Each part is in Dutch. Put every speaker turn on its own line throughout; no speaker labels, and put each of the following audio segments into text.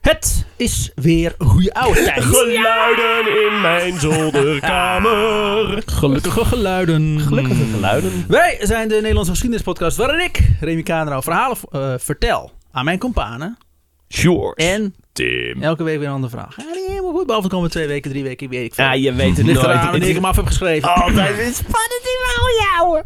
Het is weer goede oude tijd.
Geluiden in mijn zolderkamer.
Gelukkige geluiden.
Gelukkige geluiden.
Hmm. Wij zijn de Nederlandse geschiedenispodcast waarin ik, Remy Kaderau, verhalen eh, vertel aan mijn kompanen.
Sure.
En
Tim.
elke week weer een andere vraag. Ja, die helemaal goed. Behalve de komende twee weken, drie weken, weet ik veel.
Ja, je weet het
Ligt
nooit.
eraan
Het
wanneer ik
is
hem af heb geschreven.
altijd weer spannend in mijn ouwe.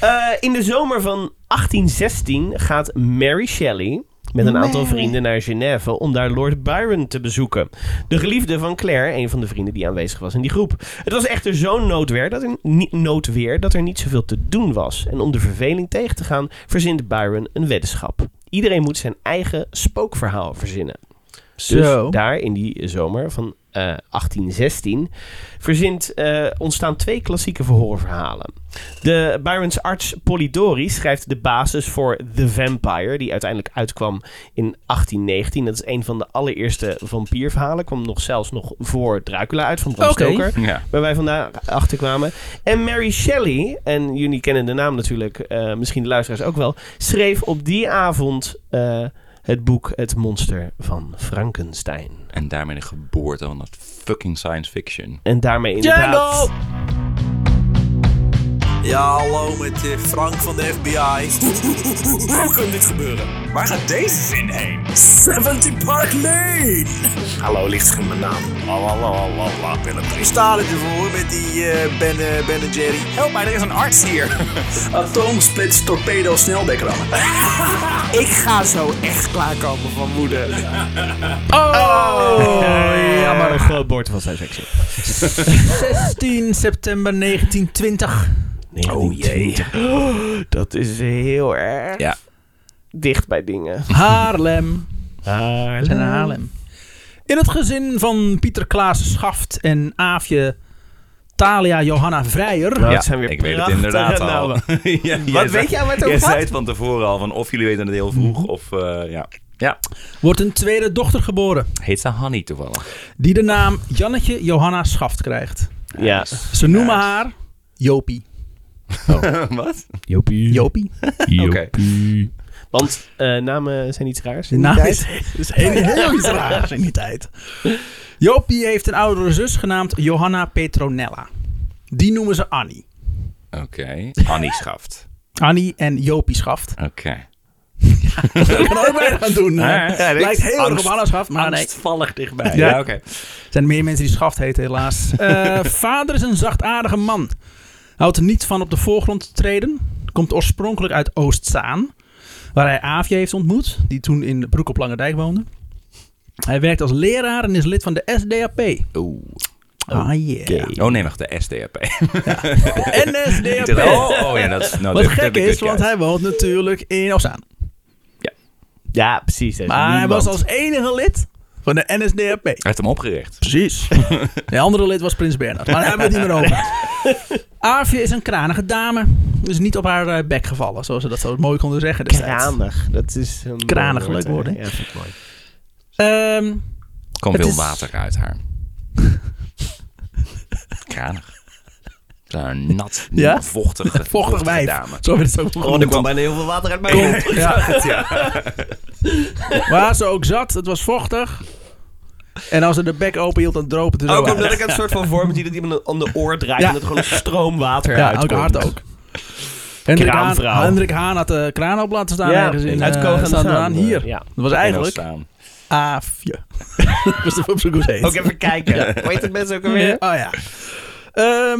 Eh, in de zomer van 1816 gaat Mary Shelley met een aantal vrienden naar Genève om daar Lord Byron te bezoeken. De geliefde van Claire, een van de vrienden die aanwezig was in die groep. Het was echter zo'n noodweer dat er, ni- noodweer dat er niet zoveel te doen was. En om de verveling tegen te gaan, verzint Byron een weddenschap. Iedereen moet zijn eigen spookverhaal verzinnen. Dus
Zo.
daar in die zomer van eh, 1816 verzint, eh, ontstaan twee klassieke verhoorverhalen. De Byron's arts Polidori schrijft de basis voor The Vampire, die uiteindelijk uitkwam in 1819. Dat is een van de allereerste vampierverhalen. Kwam nog zelfs nog voor Dracula uit van Bram
Oké.
Stoker
Ja.
waar wij vandaag achter kwamen. En Mary Shelley, en jullie kennen de naam natuurlijk, eh, misschien de luisteraars ook wel, schreef op die avond eh, het boek Het Monster van Frankenstein.
En daarmee de geboorte van dat fucking science fiction.
En daarmee inderdaad...
Django!
Ja, hallo met eh, Frank van de FBI. Hoe kan dit gebeuren? Waar gaat deze zin heen? 70 Park Lane! Hallo, ligt in mijn naam. Sta er ervoor met die eh ben, eh, ben en Jerry. Help mij, er is een arts hier. Atoomsplits, torpedo, sneldekker Ik ga zo echt klaarkomen van woede.
Oh,
ja, maar een
jammer.
groot bord was hij seksie.
16 september 1920.
Oh jee. Dat is heel erg
Ja.
dicht bij dingen.
Haarlem.
Haarlem.
en Haarlem. In het gezin van Pieter Klaas Schaft en Aafje Talia Johanna Vrijer.
Nou,
ja,
het zijn weer
ik weet het
prachtige
inderdaad al.
namen.
Ja, jij
weet
zei-
jij waar het over
Jij
gaat? Mhm.
zei het van tevoren al, van of jullie weten het heel vroeg of eh, ja. Ja,
wordt een tweede dochter geboren.
heet ze Hanny toevallig.
Die de naam Jannetje Johanna Schaft krijgt.
Ja.
Ze noemen haar Jopie.
Wat?
Jopie.
Jopie?
Want eh, namen zijn iets raars.
De naam is, is heel, heel iets raars in die tijd. Jopie heeft een oudere zus genaamd Johanna Petronella. Die noemen ze Annie.
Oké. Hanny schaft.
Annie en Jopie Schaft.
Oké.
Dat kan ook bijna gaan doen. hè.
Ja, ja,
Lijkt heel erg
angst-
op Hanna Schaft, maar nee.
Angstvallig dichtbij.
Ja.
Ja, oké.
Er zijn meer mensen die Schaft heten, helaas. Eh, vader is een zachtaardige man. Houdt er niet van op de voorgrond te treden. Komt oorspronkelijk uit Oostzaan. Waar hij Aafje heeft ontmoet. Die toen in Broek op Lange Dijk woonde. Hij werkt als leraar en is lid van de SDAP.
Oeh.
Ah yeah.
Oh nee, wacht, de SDAP.
De NSDAP.
Oh, oh ja, dat is...
Wat
Nou, dat- dat
gek
heb ik
is,
het
want
juist.
hij woont natuurlijk in Oostzaan.
Ja, precies. er is
Maar hij
niemand.
was als enige lid van de NSDAP.
Hij heeft hem opgericht.
Precies. De andere lid was Prins Bernhard. Maar daar hebben we het niet meer over. Aafje is een kranige dame. Dus niet op haar eh, bek gevallen, zoals ze dat zo mooi konden zeggen destijds.
Kranig. Dat is een
Kranig,
mooi
leuk woord, hè?
Ja, vind ik mooi.
Ehm,
Er kwam
Het
veel
is-
water uit haar. Kranig. Zo'n nat,
Ja?
vochtige,
vochtig
vochtige
wijf.
dame.
Zo werd het ook
Oh,
genoemd.
er kwam bijna heel veel water uit mijn mond.
Ja. Waar ze ook zat, het was vochtig. En als ze de bek open hield, dan droop het er zo
Ook
uit.
omdat ik het soort van vorm zie dat iemand aan de oor draait
Ja.
en dat er gewoon een stroom water
Ja,
uitkomt.
ook hard ook. Hendrik Haan,
Kraamvrouw.
Hendrik Haan had de kraan op laten staan.
Ja,
ergens in,
uit
eh,
Koog aan de
staan
Zaan.
eraan. Hier.
Ja.
Dat was eigenlijk
Staan.
Aafje. Ik was even op zoek hoe ze heet.
Ook even kijken. Hoe heet het mensen ook
Ja.
alweer?
Oh ja. Ehm,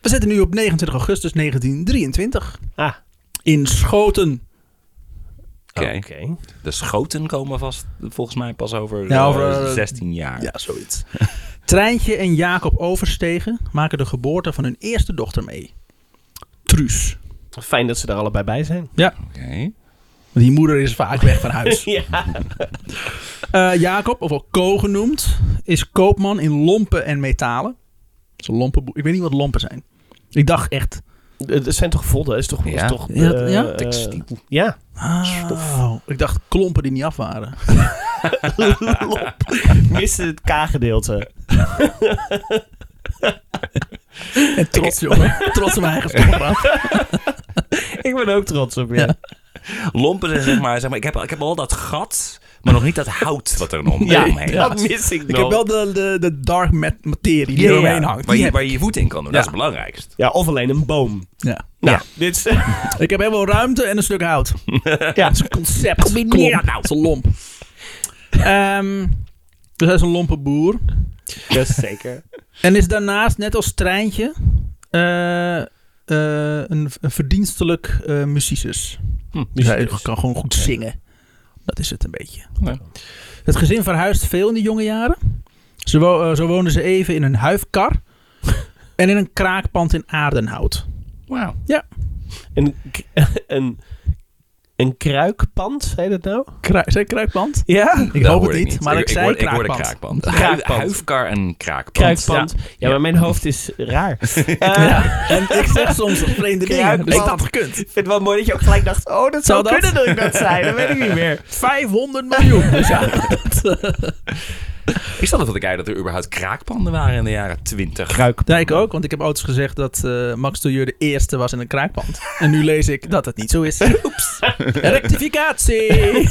we zitten nu op 29 augustus 1923
Ah,
in Schoten.
Oké.
oké.
De schoten komen vast volgens mij pas
Ja,
over, eh,
over, eh,
16 jaar.
Ja, zoiets. Treintje en Jacob Overstegen maken de geboorte van hun eerste dochter mee. Truus.
Fijn dat ze er allebei bij zijn.
Oké.
Want die moeder is vaak weg van huis.
Ja.
Eh, Jacob, of ook Ko genoemd, is koopman in lompen en metalen. Dat is een lompenboer. Ik weet niet wat lompen zijn. Ik dacht echt...
Het zijn toch vodden? Is toch,
Ja.
is toch
Ja,
eh,
ja.
eh,
Textiel.
ja.
Oh, ik dacht klompen die niet af waren.
Lop. Mist het K-gedeelte.
En trots, jongen. Trots op mijn eigen stoppraat.
Ik ben ook trots op je.
Ja.
Lompen zijn zeg maar, zeg maar ik, heb, ik heb al dat gat Maar nog niet dat hout wat er om,
Ja,
omheen
ja.
hangt.
Dat mis ik nog.
Ik heb wel de, de, de dark mat- materie die
Nou. Ja,
eromheen
ja,
hangt.
Waar
Die
je,
heb
waar je je voet in kan doen,
Ja.
dat is het belangrijkst.
Ja, of alleen een boom.
ik. ja.
Nou,
Ja.
dit is...
Ik heb heel veel ruimte en een stuk hout.
ja.
Dat is een concept.
Combineer
Klomp. Dat nou, is een lomp. Ehm, dus hij is een lompe boer.
Dat is zeker.
En is daarnaast, net als Treintje, eh, eh, een, een verdienstelijk eh musicus.
Hm,
Dus hij kan gewoon goed zingen. Dat is het een beetje.
Ja.
Het gezin verhuist veel in de jonge jaren. Ze wo- eh, zo woonden ze even in een huifkar. en in een kraakpand in Aardenhout.
Wauw.
Een, k- een, een kruikpand, heet dat nou?
Kru- Is dat een kraakpand?
Ja?
Ik
Dat
hoop
hoor
het
ik
niet, maar ik, zei
hoor- ik hoor
kraakpand.
een kraakpand.
Kraakpand.
Huifkar en kraakpand.
Kruikpand. Ja,
Ja.
maar mijn hoofd is raar. Eh,
Ja. En ik zeg soms vreemde dingen.
Kraakpand.
Is dat gekund?
Ik vind het wel mooi dat je ook gelijk dacht, oh, dat
Zou
zou,
dat?
kunnen dat ik dat zei. Dat weet ik niet meer.
500 miljoen. Dus ja,
Ik stel het dat ik uit dat er überhaupt kraakpanden waren in de jaren 20.
Ja, ik ook, want ik heb ooit eens gezegd dat eh, Max Touilleur de eerste was in een kraakpand. En nu lees ik dat het niet zo is. Oeps. Rectificatie!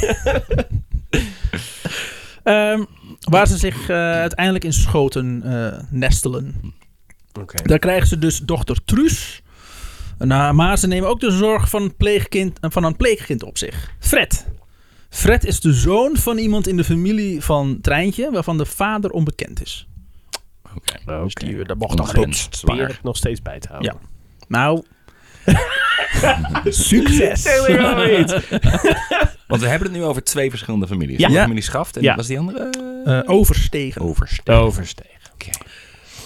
Ehm, waar ze zich eh, uiteindelijk in Schoten eh, nestelen. Daar krijgen ze dus dochter Truus. Nou, maar ze nemen ook de zorg van een, pleegkind, eh, van een pleegkind op zich. Fred. Fred is de zoon van iemand in de familie van Treintje, waarvan de vader onbekend is.
Oké.
Dus die, dat mocht dan goed.
Ongewenst
Probeer
zwaar.
het nog steeds bij te houden.
Ja. Nou. Succes.
Stel je wel weer iets.
Want we hebben het nu over twee verschillende families.
Ja.
De
Ja.
familie Schaft en
Ja.
was die andere?
Eh, overstegen.
Overst.
Overstegen.
Oké.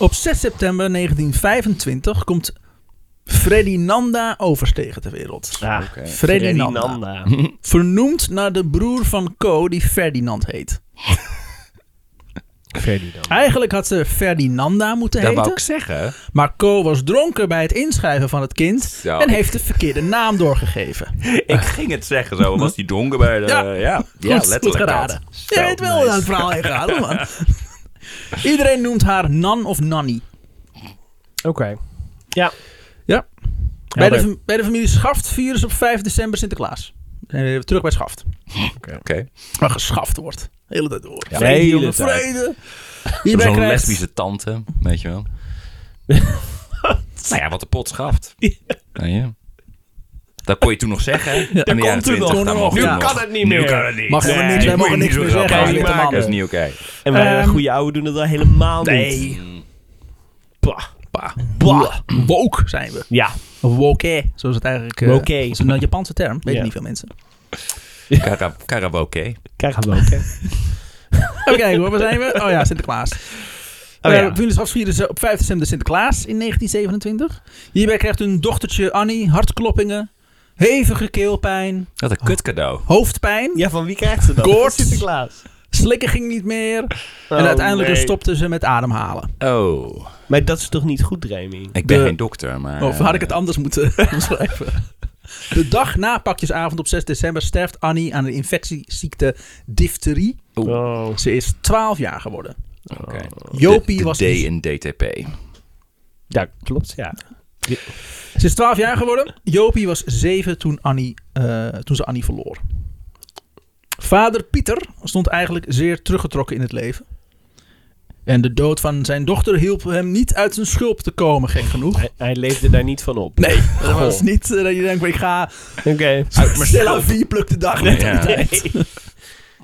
Op 6 september 1925 komt Fredinanda Overstegen ter wereld.
Ah,
Oké.
Fredinanda.
Ferdinanda.
Vernoemd naar de broer van Co die Ferdinand heet.
Ferdinanda.
Eigenlijk had ze Ferdinanda moeten
Dat wou
heten.
ik zeggen.
Maar Co was dronken bij het inschrijven van het kind.
Zo.
En heeft de verkeerde naam doorgegeven.
Ik ging het zeggen zo. Was die dronken bij de...
Ja.
Ja, Eh, ja,
goed,
letterlijk
goed geraden.
dat.
Je
Zo,
weet wel hoe
nice.
dat verhaal heen gaat, man. Iedereen noemt haar Nan of Nanny.
Oké. Ja.
Ja. Bij de,
Helder.
fam- bij de familie Schaft vieren ze op 5 december Sinterklaas. We zijn weer terug bij Schaft.
Oké.
Waar geschaft wordt. De hele tijd door.
Ja.
Vrede,
Hele
jongen,
tijd.
vrede.
Zo'n
Hierbij krijgt-
lesbische tante, weet je wel. nou ja, wat de pot schaft. Nou ja. Dat kon je toen nog zeggen. hè? In de
kon
jaren
toen nog.
20, dat
Kon
mag
nog,
toen
ja.
Nu
nog.
kan het niet
Nu
meer.
kan het niet.
Mag helemaal
Nee,
niks, wij
moet
mogen
je
niks
niet
meer
zo
zeggen.
grappig
als
grappig
witte
maken.
maken.
mannen.
Dat is niet oké.
En wij
Ehm,
goede oude doen het al helemaal niet.
Nee.
Bah.
Pa.
Bah.
Woke zijn we.
Ja.
Of woke, zoals het eigenlijk... eh,
Woke.
is een Japanse term. Weten
Ja.
niet veel mensen.
Kara- Karaoke.
Krijgen we ook, hè?
Even kijken hoor, waar zijn we? Oh ja, Sinterklaas.
Oh
Eh,
ja.
Willis Hafs vierde ze op 5 december Sinterklaas in 1927. Hierbij krijgt hun dochtertje Annie hartkloppingen, hevige keelpijn,
Dat is een kut cadeau.
hoofdpijn.
Ja, van wie krijgt ze dat?
Koorts.
Van Sinterklaas.
Slikken ging niet meer.
Oh,
en uiteindelijk dus stopte ze met ademhalen.
Oh,
Maar dat is toch niet goed, Remy?
ik ben
De-
geen dokter, maar...
Ah,
of had ik het anders moeten omschrijven? De dag na pakjesavond op 6 december sterft Annie aan de infectieziekte difterie.
Oh.
Ze is 12 jaar geworden.
eh, oké. De-
Jopie
de
was
D in DTP.
Ja, klopt, ja.
Ze is 12 jaar geworden. Jopie was 7 toen, Annie, eh, toen ze Annie verloor. Vader Pieter stond eigenlijk zeer teruggetrokken in het leven. En de dood van zijn dochter hielp hem niet uit zijn schulp te komen, gek genoeg.
Hij, hij leefde daar niet van op.
Nee, dat was
Goh.
niet eh, dat je denkt, ik ga
Oké.
Uit mijn
Stella
schulp.
V pluk de dag net
Ja.
aan de tijd.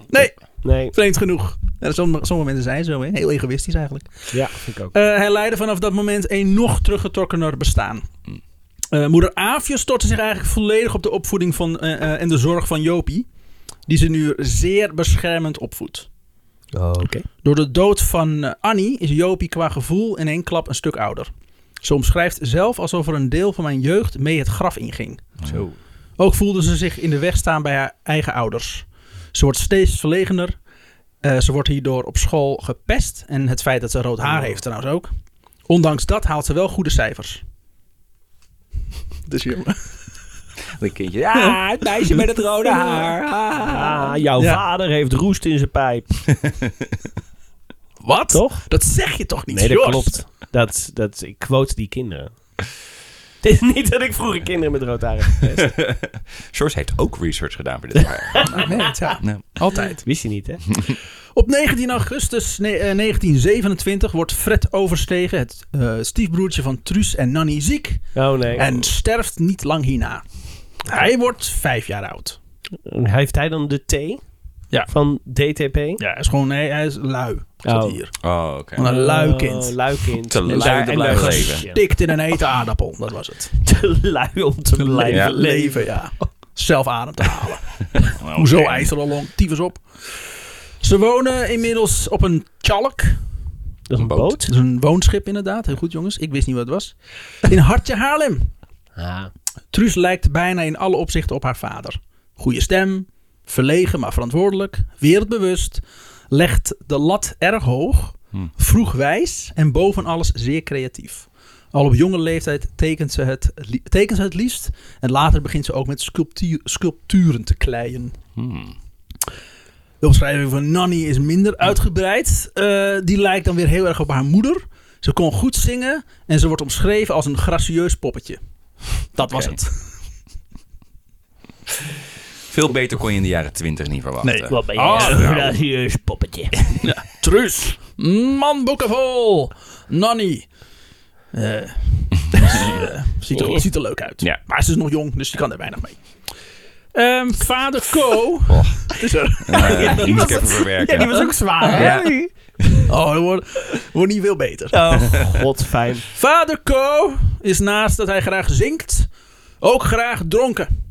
Nee,
Nee.
vreemd genoeg. Ja, sommige, sommige mensen zijn zo, hè. heel egoïstisch eigenlijk.
Ja, vind ik ook.
Eh, hij leidde vanaf dat moment een nog teruggetrokkener bestaan. Eh, moeder Aafje stortte zich eigenlijk volledig op de opvoeding van, eh, eh, en de zorg van Jopie. Die ze nu zeer beschermend opvoedt.
Oké.
Door de dood van eh, Annie is Jopie qua gevoel in één klap een stuk ouder. Ze omschrijft zelf alsof er een deel van mijn jeugd mee het graf inging.
Zo.
Ook voelde ze zich in de weg staan bij haar eigen ouders. Ze wordt steeds verlegener. Eh, ze wordt hierdoor op school gepest. En het feit dat ze rood haar heeft trouwens ook. Ondanks dat haalt ze wel goede cijfers. Dus jongen.
Een kindje. Ja, het meisje met het rode haar.
Ah, jouw
Ja.
vader heeft roest in zijn pijp.
Wat?
Toch?
Dat zeg je toch niet,
Nee, dat
Joost?
klopt. Dat, dat, ik quote die kinderen. Het is niet dat ik vroeger kinderen met rood haar heb getest.
George heeft ook research gedaan voor dit jaar.
Ik weet het, ja.
Nee.
Altijd.
Wist je niet, hè?
Op 19 augustus ne- eh, 1927 wordt Fred Overstegen, het eh, stiefbroertje van Truus en Nanny, ziek.
Oh nee.
En sterft niet lang hierna. Hij wordt vijf jaar oud.
Heeft hij dan de T
Ja.
van DTP?
Ja, hij is gewoon, nee, hij is lui. Staat
Oh.
hier.
Oh, oké.
Gewoon een lui kind.
Oh, luikind.
Te
En
lui
daar-
te
en
blijven
daar-
leven.
Dik.
Dikt in een hete aardappel, dat was het.
Te lui om te blijven
Ja.
leven. Oh,
Leven, ja. Zelf adem te halen.
Nou,
Hoezo
oké.
IJsselalong? Tyfus op. Ze wonen inmiddels op een tjalk.
Dat is een
Een boot.
boot.
Dat is een woonschip inderdaad. Heel goed jongens. Ik wist niet wat het was. In Hartje Haarlem.
Ah.
Truus lijkt bijna in alle opzichten op haar vader. Goede stem. Verlegen maar verantwoordelijk. Wereldbewust. Legt de lat erg hoog. Vroeg wijs. En boven alles zeer creatief. Al op jonge leeftijd tekent ze het, li- tekent ze het liefst. En later begint ze ook met sculptuur- sculpturen te kleien.
Hmm.
De omschrijving van Nanny is minder uitgebreid. Eh, die lijkt dan weer heel erg op haar moeder. Ze kon goed zingen en ze wordt omschreven als een gracieus poppetje. Dat was
Oké.
het.
Veel beter kon je in de jaren twintig niet verwachten.
Nee,
Wat ben je?
Ah,
een
nou.
gracieus poppetje.
Truus, man boeken vol. Nanny. Eh, eh, ziet, er, ziet er leuk uit.
Ja.
Maar ze is nog jong, dus die kan er weinig mee. Ehm, vader Co.
Oh.
Is er.
Eh, die moet ik even verwerken.
Ja, die was ook zwaar. hè?
Ja.
Oh, dat wordt, wordt niet veel beter.
Oh, god, fijn.
Vader Co is naast dat hij graag zingt, ook graag dronken.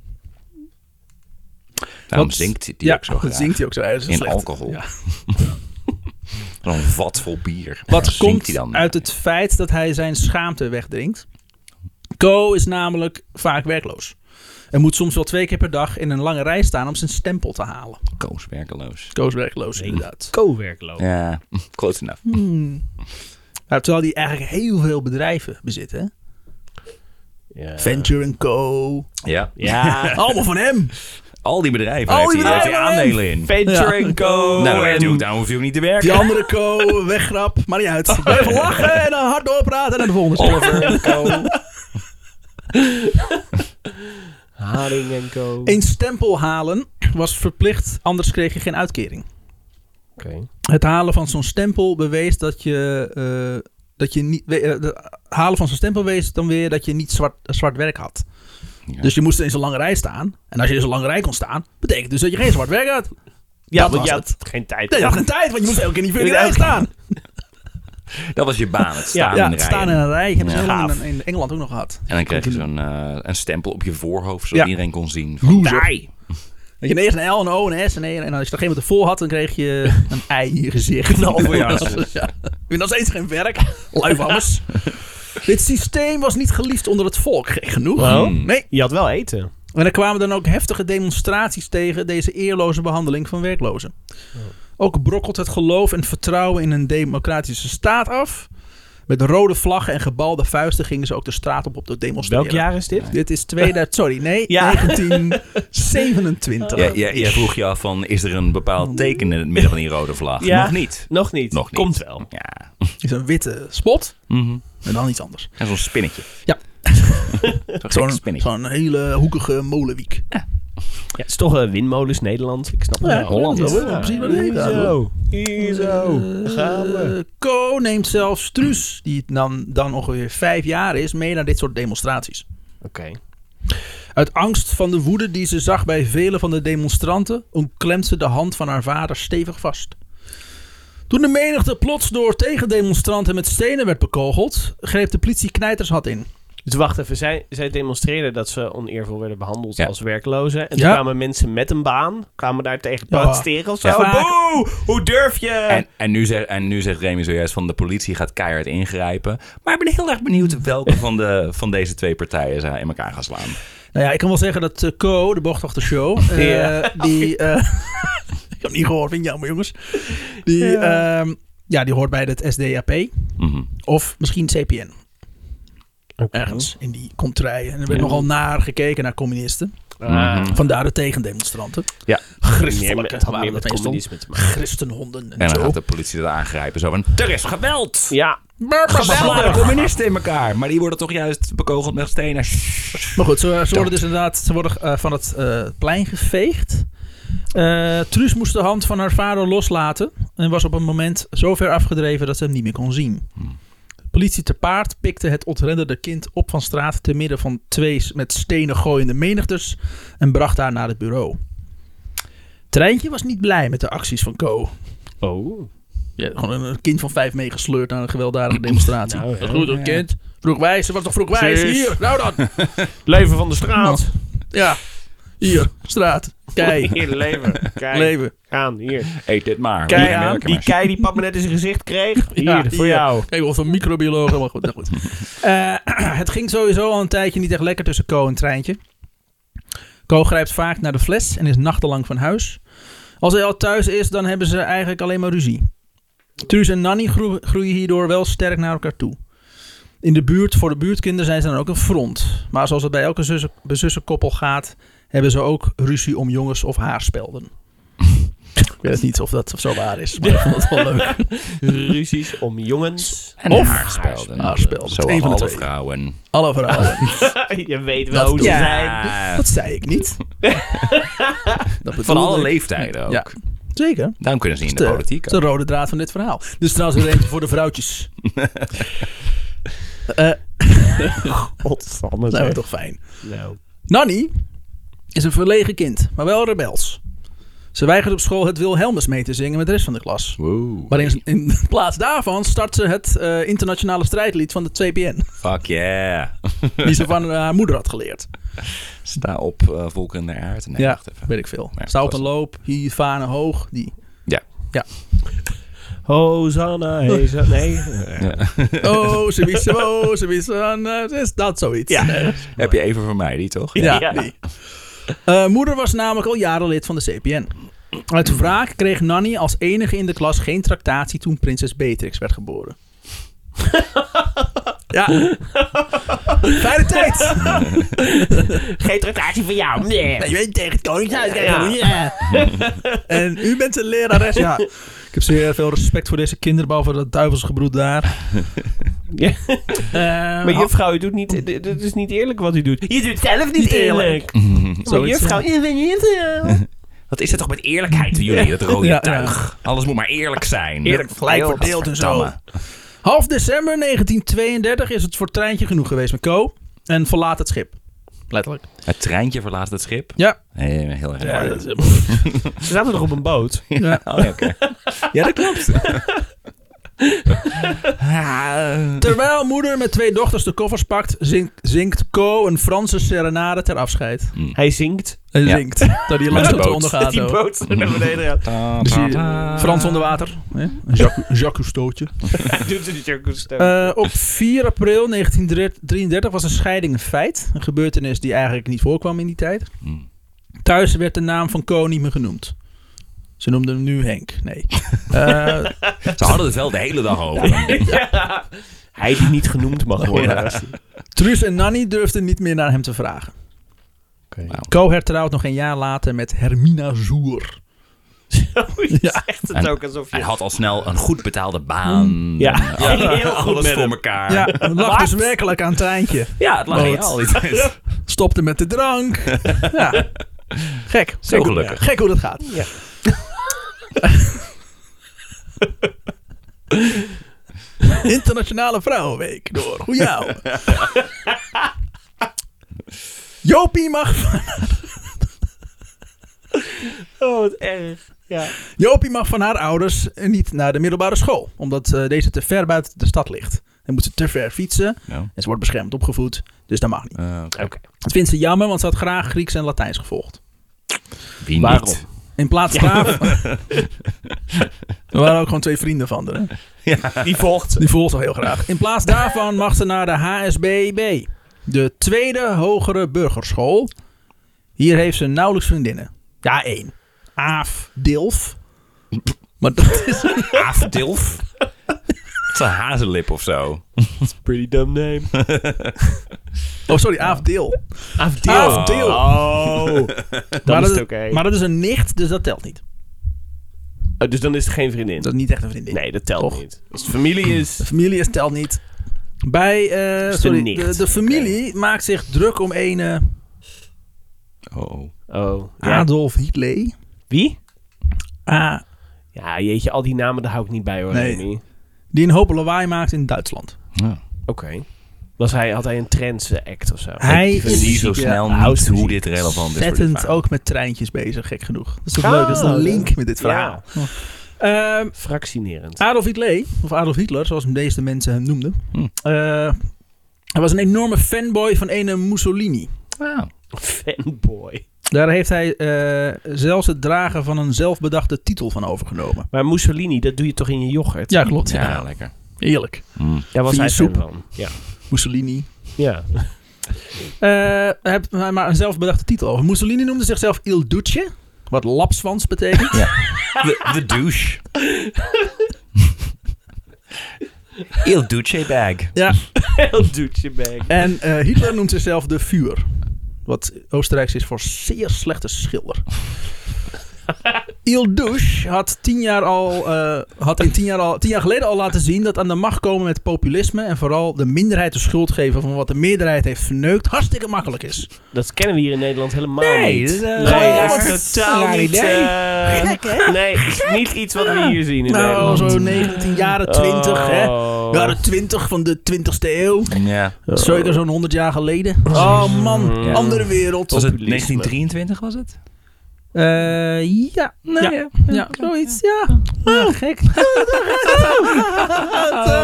Daarom
Wat-
zingt die ook zo graag.
zingt hij ook zo. Hij is
In
slecht.
alcohol.
Ja.
Zo'n vat vol bier.
Wat
Waar zingt
komt
hij dan?
uit het feit dat hij zijn schaamte wegdrinkt. Co is namelijk vaak werkloos. En moet soms wel twee keer per dag in een lange rij staan om zijn stempel te halen.
Koos werkeloos.
Co is werkloos, inderdaad.
Co-werkloos.
Ja, close enough.
Hmm. Nou, terwijl hij eigenlijk heel veel bedrijven bezit, hè?
Ja.
Venture Co.
Ja.
Ja.
Allemaal van hem.
Al die bedrijven
Al
heeft,
die
hij- heeft
bedrijven,
hij aandelen in.
Venture
Ja.
Co.
nou,
en-
natuurlijk, daar hoef je ook niet te werken.
Die andere Co, weggrap, maar niet uit. Blijven lachen en dan hard doorpraten en dan de volgende.
Oliver, Co.
Haring en Co.
Een stempel halen was verplicht, anders kreeg je geen uitkering.
Oké.
Het halen van zo'n stempel bewees dat je. eh, dat je niet. we- eh, de- halen van zo'n stempel bewees dan weer dat je niet zwart, eh, zwart werk had.
Ja.
Dus je moest in zo'n lange rij staan. En als je in zo'n lange rij kon staan, betekent dus dat je geen zwart werk had.
Ja,
Dat
want
was
je
het.
had geen tijd.
Nee, je had geen tijd, want je moest elke keer in die
Ja.
rij staan.
Dat was je baan, het staan
Ja,
in de
het
rij.
staan in een rij. Hebben ze
Ja.
heel lang
Gaaf.
in, in Engeland ook nog gehad.
En dan kreeg je zo'n eh, een stempel op je voorhoofd, zodat
Ja.
iedereen kon zien. Van,
Loser.
"Dai."
Dat je eerst een L, een O, een S en een. En als je dat geen moment vol had, dan kreeg je een ei in je gezicht. Nou,
ja.
ja. Je nog steeds geen werk. Luivammers. Dit systeem was niet geliefd onder het volk. Gek genoeg.
Wel?
Nee.
Je had wel eten.
En er kwamen dan ook heftige demonstraties tegen deze eerloze behandeling van werklozen. Ook brokkelt het geloof en vertrouwen in een democratische staat af. Met rode vlaggen en gebalde vuisten gingen ze ook de straat op op te demonstreren.
Welk jaar is dit?
Dit is 2000, sorry, nee,
Ja.
1927.
Ja, ja, jij vroeg je af van, is er een bepaald teken in het midden van die rode vlag?
Ja.
Nog niet.
Nog niet.
Nog niet.
Komt wel.
Ja.
is een witte spot
Mhm.
en dan iets anders.
En zo'n spinnetje.
Ja.
zo'n gek
Zo'n
spinnetje.
zo'n hele hoekige molenwiek.
Ja, het is toch eh, windmolens Nederland. Ik snap het
Ja,
wel.
Holland.
Ja,
Ja, precies wat het heet.
Zo. Zo. Gaan we.
Eh, Co neemt zelfs Truus, die dan, dan ongeveer vijf jaar is, mee naar dit soort demonstraties.
Oké.
Uit angst van de woede die ze zag bij vele van de demonstranten, omklemt ze de hand van haar vader stevig vast. Toen de menigte plots door tegendemonstranten met stenen werd bekogeld, greep de politie knijtershand in.
Dus wacht even. Zij, zij demonstreerden dat ze oneervol werden behandeld
Ja.
als werklozen. En toen
Ja.
kwamen mensen met een baan. Kwamen daar tegen
Ja.
protesteren of zo.
Ja, vaak.
Boe! Hoe durf je?
En, en, nu zegt, en nu zegt Remy zojuist van de politie gaat keihard ingrijpen. Maar ik ben heel erg benieuwd welke van, de, van deze twee partijen ze in elkaar gaan slaan.
Nou ja, ik kan wel zeggen dat eh, Co, de bocht achter show, eh,
Ja.
die... eh, ik heb het niet gehoord, vind ik jammer jongens. Die, ja. ja, die hoort bij het SDAP.
Mhm.
Of misschien CPN.
Oké.
Ergens in die contraien. En er werd nogal naar gekeken naar communisten.
Ah,
Vandaar de tegendemonstranten.
Ja.
meer
Christelijke,
met- het had
waar
meer
dat
met
mee stond.
communisme te maken.
nou Christenhonden en,
En dan
zo.
gaat de politie dat aangrijpen. Zo van, er is geweld!
Ja.
Geweldige communisten in elkaar. Maar die worden toch juist bekogeld met stenen.
Maar goed, ze, ze worden dus inderdaad ze worden, eh, van het eh, plein geveegd. Eh Truus moest de hand van haar vader loslaten en was op een moment zo ver afgedreven dat ze hem niet meer kon zien. Politie te paard pikte het ontrenderde kind op van straat te midden van twee s- met stenen gooiende menigtes en bracht haar naar het bureau. Treintje was niet blij met de acties van Co.
Oh.
Ja, gewoon een kind van vijf meegesleurd naar een gewelddadige demonstratie.
Nou, ja.
dat is goed, een kind. Vroeg wijs, ze was toch vroeg wijs?
Sis.
Hier, nou dan.
Leven van de straat.
Ja. Hier, straat. Kei.
Hier, leven. Kijk
Leven.
aan, hier.
Eet dit maar.
Kei
Die
aan.
merken
Die
maar.
kei die papa net in zijn gezicht kreeg. Hier,
Ja,
voor
hier.
jou.
Kijk, of een microbioloog. Maar goed, nou goed. Eh, het ging sowieso al een tijdje niet echt lekker tussen Co en Treintje. Co grijpt vaak naar de fles en is nachtenlang van huis. Als hij al thuis is, dan hebben ze eigenlijk alleen maar ruzie. Truus en Nanny groe- groeien hierdoor wel sterk naar elkaar toe. In de buurt, voor de buurtkinderen zijn ze dan ook een front. Maar zoals het bij elke zussen- zussenkoppel gaat, hebben ze ook ruzie om jongens of haarspelden. Ik weet niet of dat of zo waar is, maar ik vond het wel leuk.
Ruzies om jongens.
En
Of-
haarspelden.
Haarspelden. Het is
Zoals
een van de
alle
twee.
vrouwen.
Alle verhalen.
Je weet
Dat
wel hoe ze
doet-
zijn.
Ah,
Dat zei ik niet. Dat
van
bedoelde
alle
ik.
leeftijden ook.
Ja, zeker.
Daarom kunnen ze niet in
Dat
de
is
politiek.
Dat is de rode draad van dit verhaal. Dus trouwens weer eentje voor de vrouwtjes. Eh
Godsamme.
zijn we
zeg.
toch fijn.
Nou.
Nanny is een verlegen kind, maar wel rebels. Ze weigert op school het Wilhelmus mee te zingen met de rest van de klas.
Wow.
Maar in, in plaats daarvan start ze het eh, internationale strijdlied van de 2PN.
Fuck yeah.
Die ze van eh, haar moeder had geleerd.
Sta op, eh, volken der aarde. Nee, wacht even.
weet ik veel.
Ja,
Stout en
was-
loop, hier, vanen hoog. Die.
Ja.
Hosanna, Heza. Nee.
Oh, ze wist zo, ze wist aan. eh, is dat zoiets? Eh,
Ja.
Heb je even voor mij die, toch?
Ja,
Ja.
die. Eh, moeder was namelijk al jaren lid van de CPN. Uit wraak kreeg Nanny als enige in de klas geen tractatie toen prinses Beatrix werd geboren. ja. Fijne tijd.
Geen tractatie van jou. Nee.
Je bent tegen het koningshuis.
kijk, Ja.
En u bent een lerares. Ja. Ik heb zeer veel respect voor deze kinderbouw, voor dat duivelsgebroed daar.
Ja.
Eh,
Maar juffrouw, u doet niet... d- d- Het is niet eerlijk wat u doet. Je doet zelf niet
Niet eerlijk.
eerlijk. Maar
Zoiets,
juffrouw, je bent niet eh. eerlijk.
Wat is het toch met eerlijkheid van jullie, dat rode
Ja, ja.
tuig? Alles moet maar eerlijk zijn.
Eerlijk gelijk verdeeld en zo.
Gadverdamme.
Half december 1932 is het voor treintje genoeg geweest met Co. En verlaat het schip. Letterlijk.
Het treintje verlaat het schip.
Ja.
Eh, heel erg raar.
Ze zaten nog op een boot.
Ja.
Oh, ja, oké. ja, dat klopt.
Terwijl moeder met twee dochters de koffers pakt, zink- zingt Co een Franse serenade ter afscheid.
Hmm.
Hij zingt.
En
Ja.
zingt. Dat hij
Met
langs
de
op de
boot.
ondergaat.
die
ook.
boot naar beneden gaat.
Dus die- Frans onder water. hè? Een Jacques, Jacques Cousteautje.
Hij doet het niet
Eh, op 4 april 1933 was een scheiding een feit. Een gebeurtenis die eigenlijk niet voorkwam in die tijd.
Hmm.
Thuis werd de naam van Co niet meer genoemd. Ze noemden hem nu Henk. Nee. Eh,
Ze hadden het wel de hele dag over.
Ja. Hij die niet genoemd mag worden.
Truus en Nanny durfden niet meer naar hem te vragen.
Wauw.
Co hertrouwt nog een jaar later met Hermina Zoer.
Zo, Oh, je
Ja.
zegt het
En
ook alsof je...
Hij had al snel een goed betaalde baan.
Ja.
Alles-
Ging heel goed
alles
met
voor
hem.
elkaar.
Ja, het lag dus werkelijk aan het treintje.
Ja, het lag
Boot.
niet al die tijd.
Stopte met de drank. Ja. Gek. Gek
Zo
hoe-
gelukkig.
Gek hoe dat gaat.
Ja.
Internationale Vrouwenweek door jou. Jopie mag
Oh, wat erg. Ja.
Jopie mag van haar ouders eh, niet naar de middelbare school, omdat eh, deze te ver buiten de stad ligt. En moet ze te ver fietsen
Ja.
en ze wordt beschermd opgevoed, dus dat mag niet.
Eh,
Oké.
Dat vindt ze jammer, want ze had graag Grieks en Latijns gevolgd.
wie niet?
Waarom? In plaats van... Er waren ook gewoon twee vrienden van haar. hè?
Die volgt ze.
Die volgt ze heel graag. In plaats daarvan mag ze naar de HSBB, de tweede hogere burgerschool. Hier heeft ze nauwelijks vriendinnen. Ja, één. Aaf Dilf. Maar dat is...
Aafdilf? Het is een hazenlip of zo.
Pretty dumb name.
Oh, sorry, Aaf Dil.
Afdeel.
Afdeel.
Oh. Dat
maar,
is
dat
het
is-
oké.
maar dat is een nicht, dus dat telt niet.
Oh, dus dan is het geen vriendin.
Dat is niet echt een vriendin.
nee, dat telt
Toch?
niet. Als het familie
De
is...
familie is telt niet. Bij, eh,
is de
sorry,
nicht.
de, de familie maakt zich druk om een eh,
Oh, oh.
Oh, ja.
Adolf Hitler.
Wie?
Ah,
Ja, jeetje, al die namen, daar hou ik niet bij hoor,
Nee.
Remy. Oké.
die een hoop lawaai maakt in Duitsland.
Ja.
Was hij, had hij een trance act of zo?
Hij
Ik zie zo
ja,
snel niet
house
hoe
muziek.
dit relevant is voor dit
ontzettend
verhaal.
ook met treintjes bezig, gek genoeg. Dat is toch
Ah,
leuk, dat is een link
leuk.
met dit
Ja.
verhaal. Ehm,
Fractionerend.
Adolf Hitler, of Adolf Hitler, zoals de meeste mensen hem noemden.
Hm.
eh, hij was een enorme fanboy van ene Mussolini.
Ah.
Fanboy.
Daar heeft hij eh, zelfs het dragen van een zelfbedachte titel van overgenomen.
Maar Mussolini, dat doe je toch in je yoghurt?
Ja, klopt.
Ja,
Ja.
lekker.
Eerlijk.
Mm.
Daar was
Via
hij fan
soep.
van. Ja.
Mussolini.
ja.
Eh, hij heeft maar een zelfbedachte titel over. Mussolini noemde zichzelf Il Duce, wat lapswans betekent.
De, de douche. Il douche bag.
ja.
Heel doetje bag.
En eh, Hitler noemt zichzelf de Vuur. Wat Oostenrijks is voor zeer slechte schilder. Il Duce had, tien jaar al, eh, had in tien jaar, al, tien jaar geleden al laten zien dat aan de macht komen met populisme en vooral de minderheid de schuld geven van wat de meerderheid heeft verneukt hartstikke makkelijk is.
Dat kennen we hier in Nederland helemaal
Nee,
niet.
dat is, eh,
nee,
raar.
dat is totaal
Raar
niet...
idee.
eh, nee, dat is niet iets wat we hier zien in
Nou,
Nederland.
zo 19 jaren 20, hè?
Oh.
Jaren 20 van de 20ste eeuw.
Ja.
Zeker zo'n 100 jaar geleden. Oh man,
Ja.
andere wereld.
Was het
Populisme.
1923 was het?
Eh, ja. ja.
ja.
Ja, zoiets, ja. Ja, Ah, gek.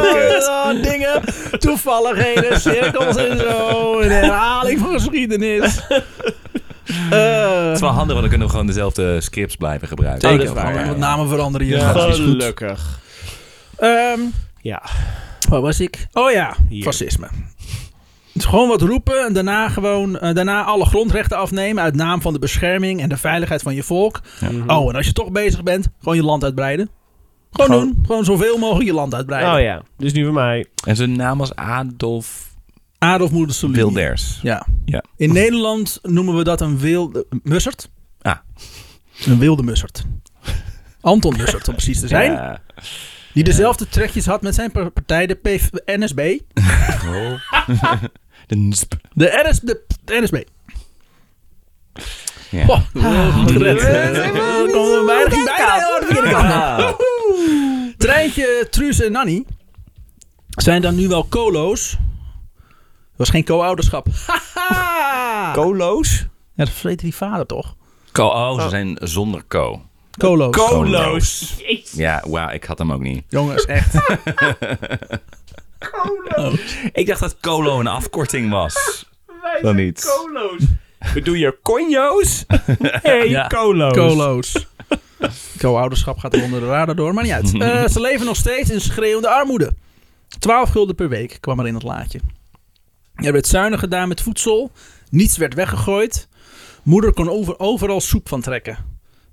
Oh, dingen, toevalligheden, cirkels en zo. Een herhaling van geschiedenis. Eh,
Het is wel handig, want dan kunnen we gewoon dezelfde scripts blijven gebruiken.
zeker,
dat is waar,
gewoon
ja.
wat namen veranderen hier.
Ja,
Dat is goed.
Gelukkig.
Ehm,
Ja.
waar was ik? Oh ja,
Hier.
fascisme. Het is Gewoon wat roepen en daarna, gewoon, eh, daarna alle grondrechten afnemen uit naam van de bescherming en de veiligheid van je volk. Oh, en als je toch bezig bent, gewoon je land uitbreiden. Gewoon,
Gewoon-
doen. Gewoon zoveel mogelijk je land uitbreiden.
Oh ja, dus nu bij mij.
En zijn naam was Adolf
Adolf Mussolini.
Wilders.
Ja.
Ja.
In Nederland noemen we dat een wilde eh, mussert.
Ah.
Een wilde mussert. Anton Mussert, om precies te zijn.
Ja.
Die dezelfde trekjes had met zijn par- partij, de PV NSB.
De nsp.
De, RS, de NSB.
Ja. Ah,
Poh, eh, goed gered. We konden bijna, ging bijna heel hard de verkeerde kant op.
Ah.
Treintje, Truus en Nanny zijn dan nu wel colo's. Dat was geen co-ouderschap. Haha!
Colo's?
ja, dat vreet die vader toch?
Ko, oh, ze zijn zonder ko.
Colo's.
Kolo's. Ja, wauw, ik had hem ook niet.
Jongens, echt.
Ik dacht dat kolo een afkorting was. Dan niet.
Colo's. Bedoel je conjo's? Nee,
Ja.
colo's.
Colo's. Co-ouderschap gaat er onder de radar door, maar niet uit. Eh, ze leven nog steeds in schreeuwende armoede. 12 gulden per week kwam er in het laadje. Er werd zuinig gedaan met voedsel. Niets werd weggegooid. Moeder kon over, overal soep van trekken.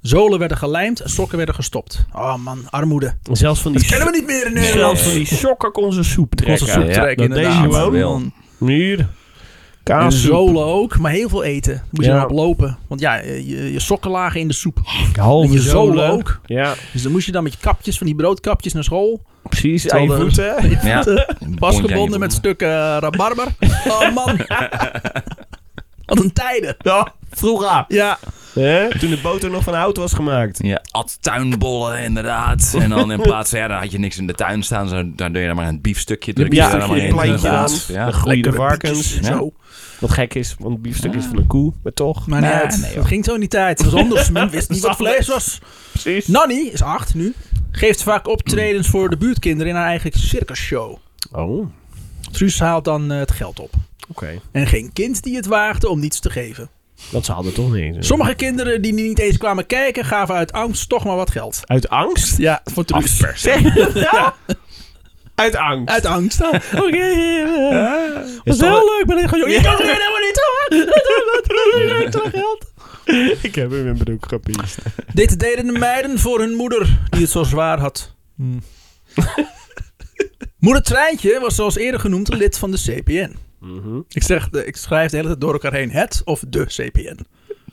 Zolen werden gelijmd en sokken werden gestopt. Oh man, armoede.
Zelfs van die,
Kennen we niet meer in Nederland.
zelfs van die sokken kon ze soep trekken.
Onze soep
Ja,
trekken,
dat deed
inderdaad.
je gewoon.
Man.
Hier.
En
Kaas.
zolen ook, maar heel veel eten. Moest je
Ja.
erop lopen. Want ja, je, je sokken lagen in de soep. En
Halve
je zolen ook.
Ja,
Dus dan moest je dan met je kapjes, van die broodkapjes naar school.
precies. Aan
Terwijl
je
de-
voeten. hè?
Ja.
Pas
Bondje aan je
gebonden met
bonden.
stukken eh, rabarber. Oh man. Wat een tijden.
Ja, vroeger.
Ja.
Hè? Toen de boter nog van hout was gemaakt.
Ja, at tuinbollen inderdaad. En dan in plaats van, ja, dan had je niks in de tuin staan. Zo, dan deed je er maar een biefstukje. Druk je
Ja,
er dan maar
een
in.
plantje aan.
inderdaad. Ja.
Dan groeien de
Lekkere
varkens.
bietjes en
Ja.
Zo.
Wat gek is, want biefstuk is van een koe. Maar toch.
Maar
Nee,
nee, het-
nee,
het ging zo in die tijd. Het was anders. Men wist niet wat vlees was.
Precies.
Nanny is acht nu. Geeft vaak optredens voor de buurtkinderen in haar eigen circusshow.
Oh, oké.
Truus haalt dan eh, het geld op. En geen kind die het waagde om niets te geven.
Dat ze hadden toch niet. hè?
Sommige kinderen die niet eens kwamen kijken, gaven uit angst toch maar wat geld.
Uit angst?
Ja, voor Truus.
Zeg je dat? Uit angst.
Uit angst. Oh, Oké.
Is
was heel
toch-
leuk, maar ik ga joh, je kan er helemaal niet hoor. geld.
Ik heb hem in mijn broek gepiest.
Dit deden de meiden voor hun moeder, die het zo zwaar had. moeder Treintje was zoals eerder genoemd lid van de CPN. Ik, zeg, de- ik schrijf de hele tijd door elkaar heen het of de CPN.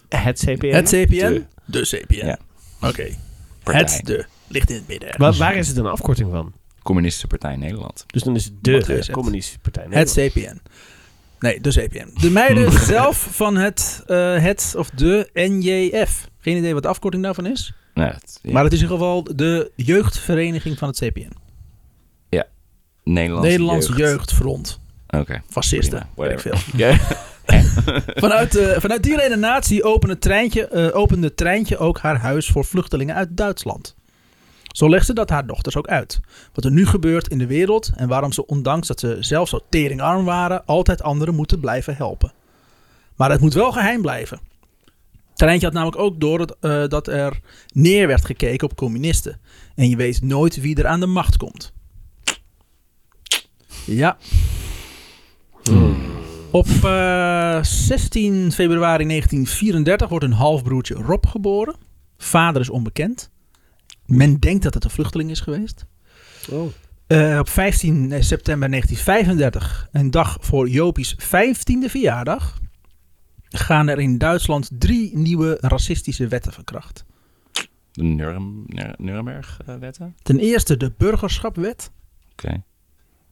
Het CPN.
Het CPN, de, CPN.
Ja.
Oké.
Partij.
Het de. ligt in het midden.
Waar, waar is het een afkorting van?
Communistische Partij Nederland.
Dus dan is het
Wat
de
is het?
Communistische Partij
Het
Nederland.
CPN. Nee, de CPN. De meiden zelf van het, eh, het of de NJF. Geen idee wat de afkorting daarvan is.
Nou, het- ja.
Maar het is in ieder geval de jeugdvereniging van het CPN.
Nederlandse,
Nederlands
jeugd.
Jeugdfront.
Oké.
Fascisten.
Prima,
Weet ik veel.
whatever. Ja.
Vanuit, eh, vanuit die redenatie opende het treintje, eh, opende het treintje ook haar huis voor vluchtelingen uit Duitsland. Zo legt ze dat haar dochters ook uit. Wat er nu gebeurt in de wereld en waarom ze, ondanks dat ze zelf zo teringarm waren, altijd anderen moeten blijven helpen. Maar het moet wel geheim blijven. Treintje had namelijk ook door dat, eh, dat er neer werd gekeken op communisten. En je weet nooit wie er aan de macht komt. Ja, op eh, 16 februari 1934 wordt een halfbroertje Rob geboren. Vader is onbekend. Men denkt dat het een vluchteling is geweest.
Oh.
Eh, op 15 september 1935, een dag voor Jopie's 15e verjaardag, gaan er in Duitsland drie nieuwe racistische wetten van kracht.
De Nurem- Nure- Nuremberg-wetten?
Ten eerste de burgerschapwet.
Oké.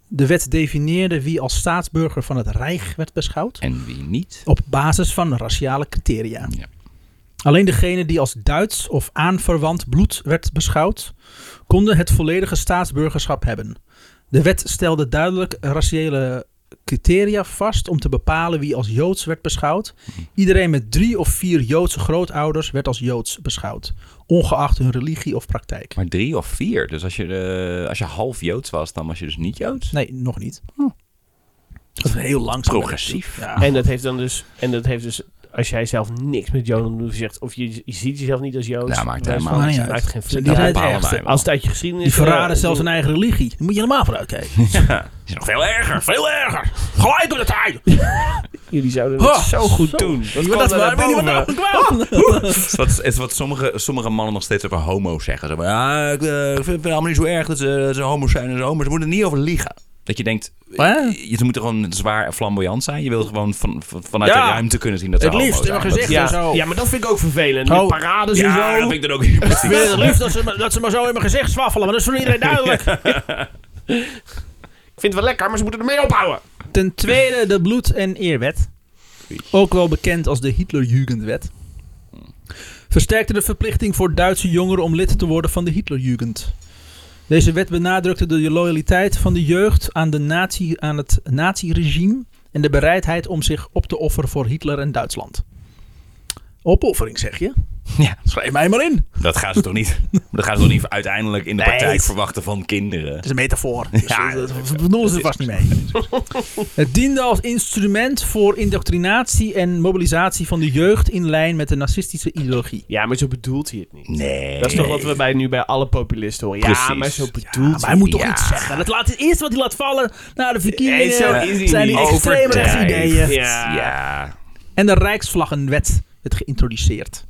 De wet definieerde wie als staatsburger van het Rijk werd beschouwd.
En wie niet?
op basis van raciale criteria.
Ja.
Alleen degene die als Duits of aanverwant bloed werd beschouwd, konden het volledige staatsburgerschap hebben. De wet stelde duidelijk raciële criteria vast om te bepalen wie als Joods werd beschouwd. Iedereen met drie of vier Joodse grootouders werd als Joods beschouwd, ongeacht hun religie of praktijk.
Maar drie of vier. Dus als je, eh, als je half Joods was, dan was je dus niet Joods.
Nee, nog niet.
Oh.
Dat is heel langzaam.
Progressief.
Ja.
En dat heeft dan dus, en dat heeft dus, als jij zelf niks met Joden doet, zegt, of je, je ziet jezelf niet als Joods.
Nou Ja, maakt
dan is
helemaal
het-
niet
maakt
uit.
geen
Die
flikker
zijn
uit.
het
bepalen
ergste.
wij wel.
Als het uit je geschiedenis...
Die verraden
eh,
zelfs hun eigen religie. Daar moet je helemaal voor uitkijken.
Is nog veel erger, veel erger.
Gelijk door de tijd!
Jullie zouden
Oh,
het zo goed
zo.
doen.
Dat was waar,
eh,
ik weet niet wat
boven.
daarvan
Ah!
kwam.
Het is wat, het is wat sommige, sommige mannen nog steeds over homo's zeggen. Zo van, ja, ik eh, ik vind het allemaal niet zo erg dat ze, dat ze homo's zijn en zo. Maar ze moeten er niet over liegen. Dat je denkt, eh,
Hè?
je, ze moeten gewoon zwaar en flamboyant zijn. Je wilt gewoon van, van- vanuit
Ja.
de ruimte kunnen zien dat ze
Het liefst,
homo's zijn.
in mijn
Dat-
gezicht. en
Ja,
zo.
ja, maar dat vind ik ook vervelend.
Oh.
Met parades en
Ja,
zo.
dat vind ik dan ook precies.
Ik vind het liefst dat ze, me- dat ze maar zo in mijn gezicht zwaffelen, maar dat is voor iedereen duidelijk.
Ik vind het wel lekker, maar ze moeten ermee ophouden.
Ten tweede de bloed- en eerwet. Ook wel bekend als de Hitlerjugendwet. Versterkte de verplichting voor Duitse jongeren om lid te worden van de Hitlerjugend. Deze wet benadrukte de loyaliteit van de jeugd aan, de nazi, aan het naziregime en de bereidheid om zich op te offeren voor Hitler en Duitsland. Opoffering zeg je?
Ja.
Schrijf mij maar in. Het
Dat gaan ze toch niet, dat gaan ze toch niet uiteindelijk in de
Nee.
praktijk verwachten van kinderen.
is een metafoor. Dus
Ja,
ja, dat dat bedoelen ze vast niet mee. Het diende als instrument voor indoctrinatie en mobilisatie van de jeugd in lijn met de nazistische ideologie.
Ja, maar zo bedoelt hij het niet.
Nee.
Dat is toch wat we bij, nu bij alle populisten horen. Ja,
Precies.
maar zo bedoelt
Ja, maar hij
hij
moet toch
Ja.
iets zeggen. Dat laat, het eerste wat hij laat vallen na de
Nee, zo
verkiezingen
is hij
zijn die
niet.
extreme
Overdrijft.
ideeën.
Ja.
Ja.
En de Rijksvlaggenwet werd geïntroduceerd.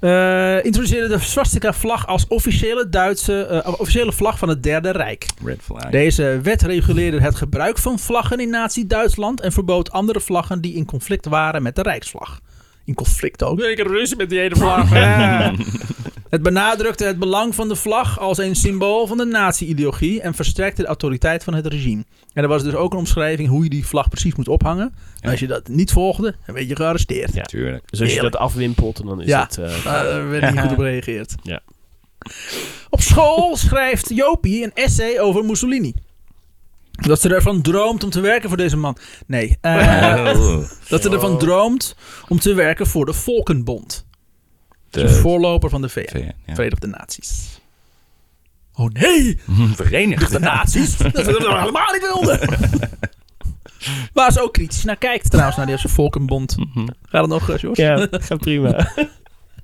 Eh, introduceerde de swastika-vlag als officiële, Duitse, eh, officiële vlag van het Derde Rijk.
Red flag.
Deze wet reguleerde het gebruik van vlaggen in Nazi-Duitsland en verbood andere vlaggen die in conflict waren met de Rijksvlag. In conflict ook. Ik heb ruzie met die ene vlag. hè. het benadrukte het belang van de vlag als een symbool van de nazi-ideologie en versterkte de autoriteit van het regime. En er was dus ook een omschrijving hoe je die vlag precies moet ophangen. En als je dat niet volgde, dan werd je gearresteerd.
Ja.
Tuurlijk.
Dus als je
Heerlijk.
dat afwimpelt, dan is
Ja.
het... eh,
Ah, Daar werd niet goed op gereageerd.
Ja.
Op school schrijft Jopie een essay over Mussolini. Dat ze ervan droomt om te werken voor deze man. Nee, eh,
Oh,
dat ze ervan droomt om te werken voor de Volkenbond.
de
de voorloper van de VN,
VN, ja.
Verenigde Naties. Oh nee,
Verenigd.
de nazi's. Dat is wat we helemaal niet wilden. Waar ze ook kritisch naar kijkt trouwens, naar deze Volkenbond.
Mhm.
Gaat het nog, eh, George?
Ja, dat gaat prima.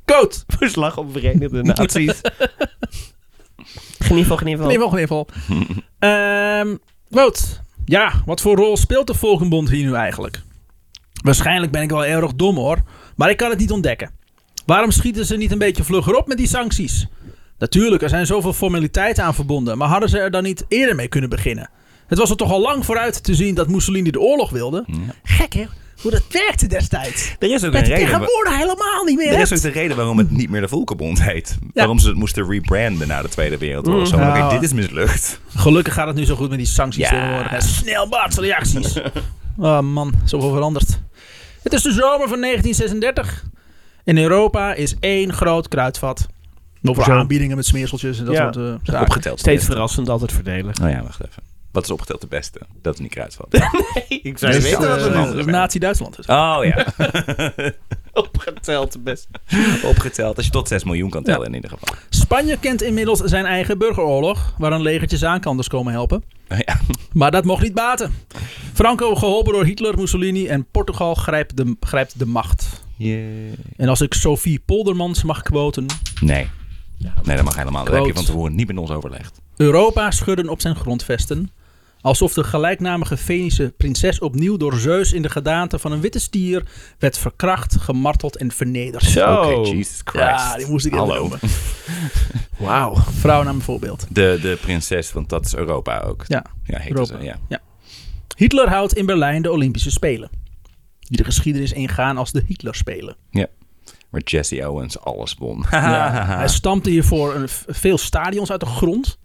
Coat!
Verslag op Verenigde Naties. Genival, genival.
In ieder geval, in ieder geval. Ehm, Wout, ja, wat voor rol speelt de Volkenbond hier nu eigenlijk? Waarschijnlijk ben ik wel erg dom hoor, maar ik kan het niet ontdekken. Waarom schieten ze niet een beetje vlugger op met die sancties? Natuurlijk, er zijn zoveel formaliteiten aan verbonden, maar hadden ze er dan niet eerder mee kunnen beginnen? Het was er toch al lang vooruit te zien dat Mussolini de oorlog wilde? Gek hè? Hoe dat werkte destijds.
Er is ook
Dat
een reden. wa-
tegenwoordig helemaal niet meer.
Er
hebt.
is ook de reden waarom het niet meer de Volkenbond heet. Waarom ze het moesten rebranden na de Tweede Wereldoorlog. Zo, oké,
Mm. Ja.
dit is mislukt.
Gelukkig gaat het nu zo goed met die sancties
Ja.
tegenwoordig. hè. Snel Bart's reacties. oh man, zoveel veranderd. Het is de zomer van 1936. In Europa is één groot kruidvat. Nog voor
Zo.
aanbiedingen met smeerseltjes en dat
Ja.
soort eh, zaken.
Opgeteld.
Steeds verrassend, altijd voordelig.
Oh ja, wacht even. Wat is opgeteld de beste? Dat is niet kruidvat.
Ik
zou je
Dus,
weten dat het een
eh,
ander
dat
bent.
Nazi-Duitsland is.
Oh ja,
opgeteld de beste.
opgeteld. Als je tot 6 miljoen kan tellen in ieder geval.
Spanje kent inmiddels zijn eigen burgeroorlog, waar een legertje zaanlanders komen helpen.
Oh ja.
Maar dat mocht niet baten. Franco, geholpen door Hitler, Mussolini en Portugal, grijpt de, grijpt de macht. En als ik Sophie Poldermans mag quoten...
Nee. Nee, dat mag helemaal. Dat heb je
Quote.
van tevoren niet met ons overlegd.
Europa schudden op zijn grondvesten. Alsof de gelijknamige Venische prinses opnieuw door Zeus in de gedaante van een witte stier werd verkracht, gemarteld en vernederd.
Zo.
Oké, Jesus Christ.
Ja, die moest ik even
Hallo.
noemen.
Wauw.
Vrouw naar mijn voorbeeld.
De, de prinses, want dat is Europa ook.
Ja,
Ja, heet
Europa.
Ze, ja.
Hitler houdt in Berlijn de Olympische Spelen. Die de geschiedenis ingaan als de Hitler-spelen.
ja. Waar Jesse Owens alles won.
Ah, Hij stampte hiervoor een, veel stadions uit de grond.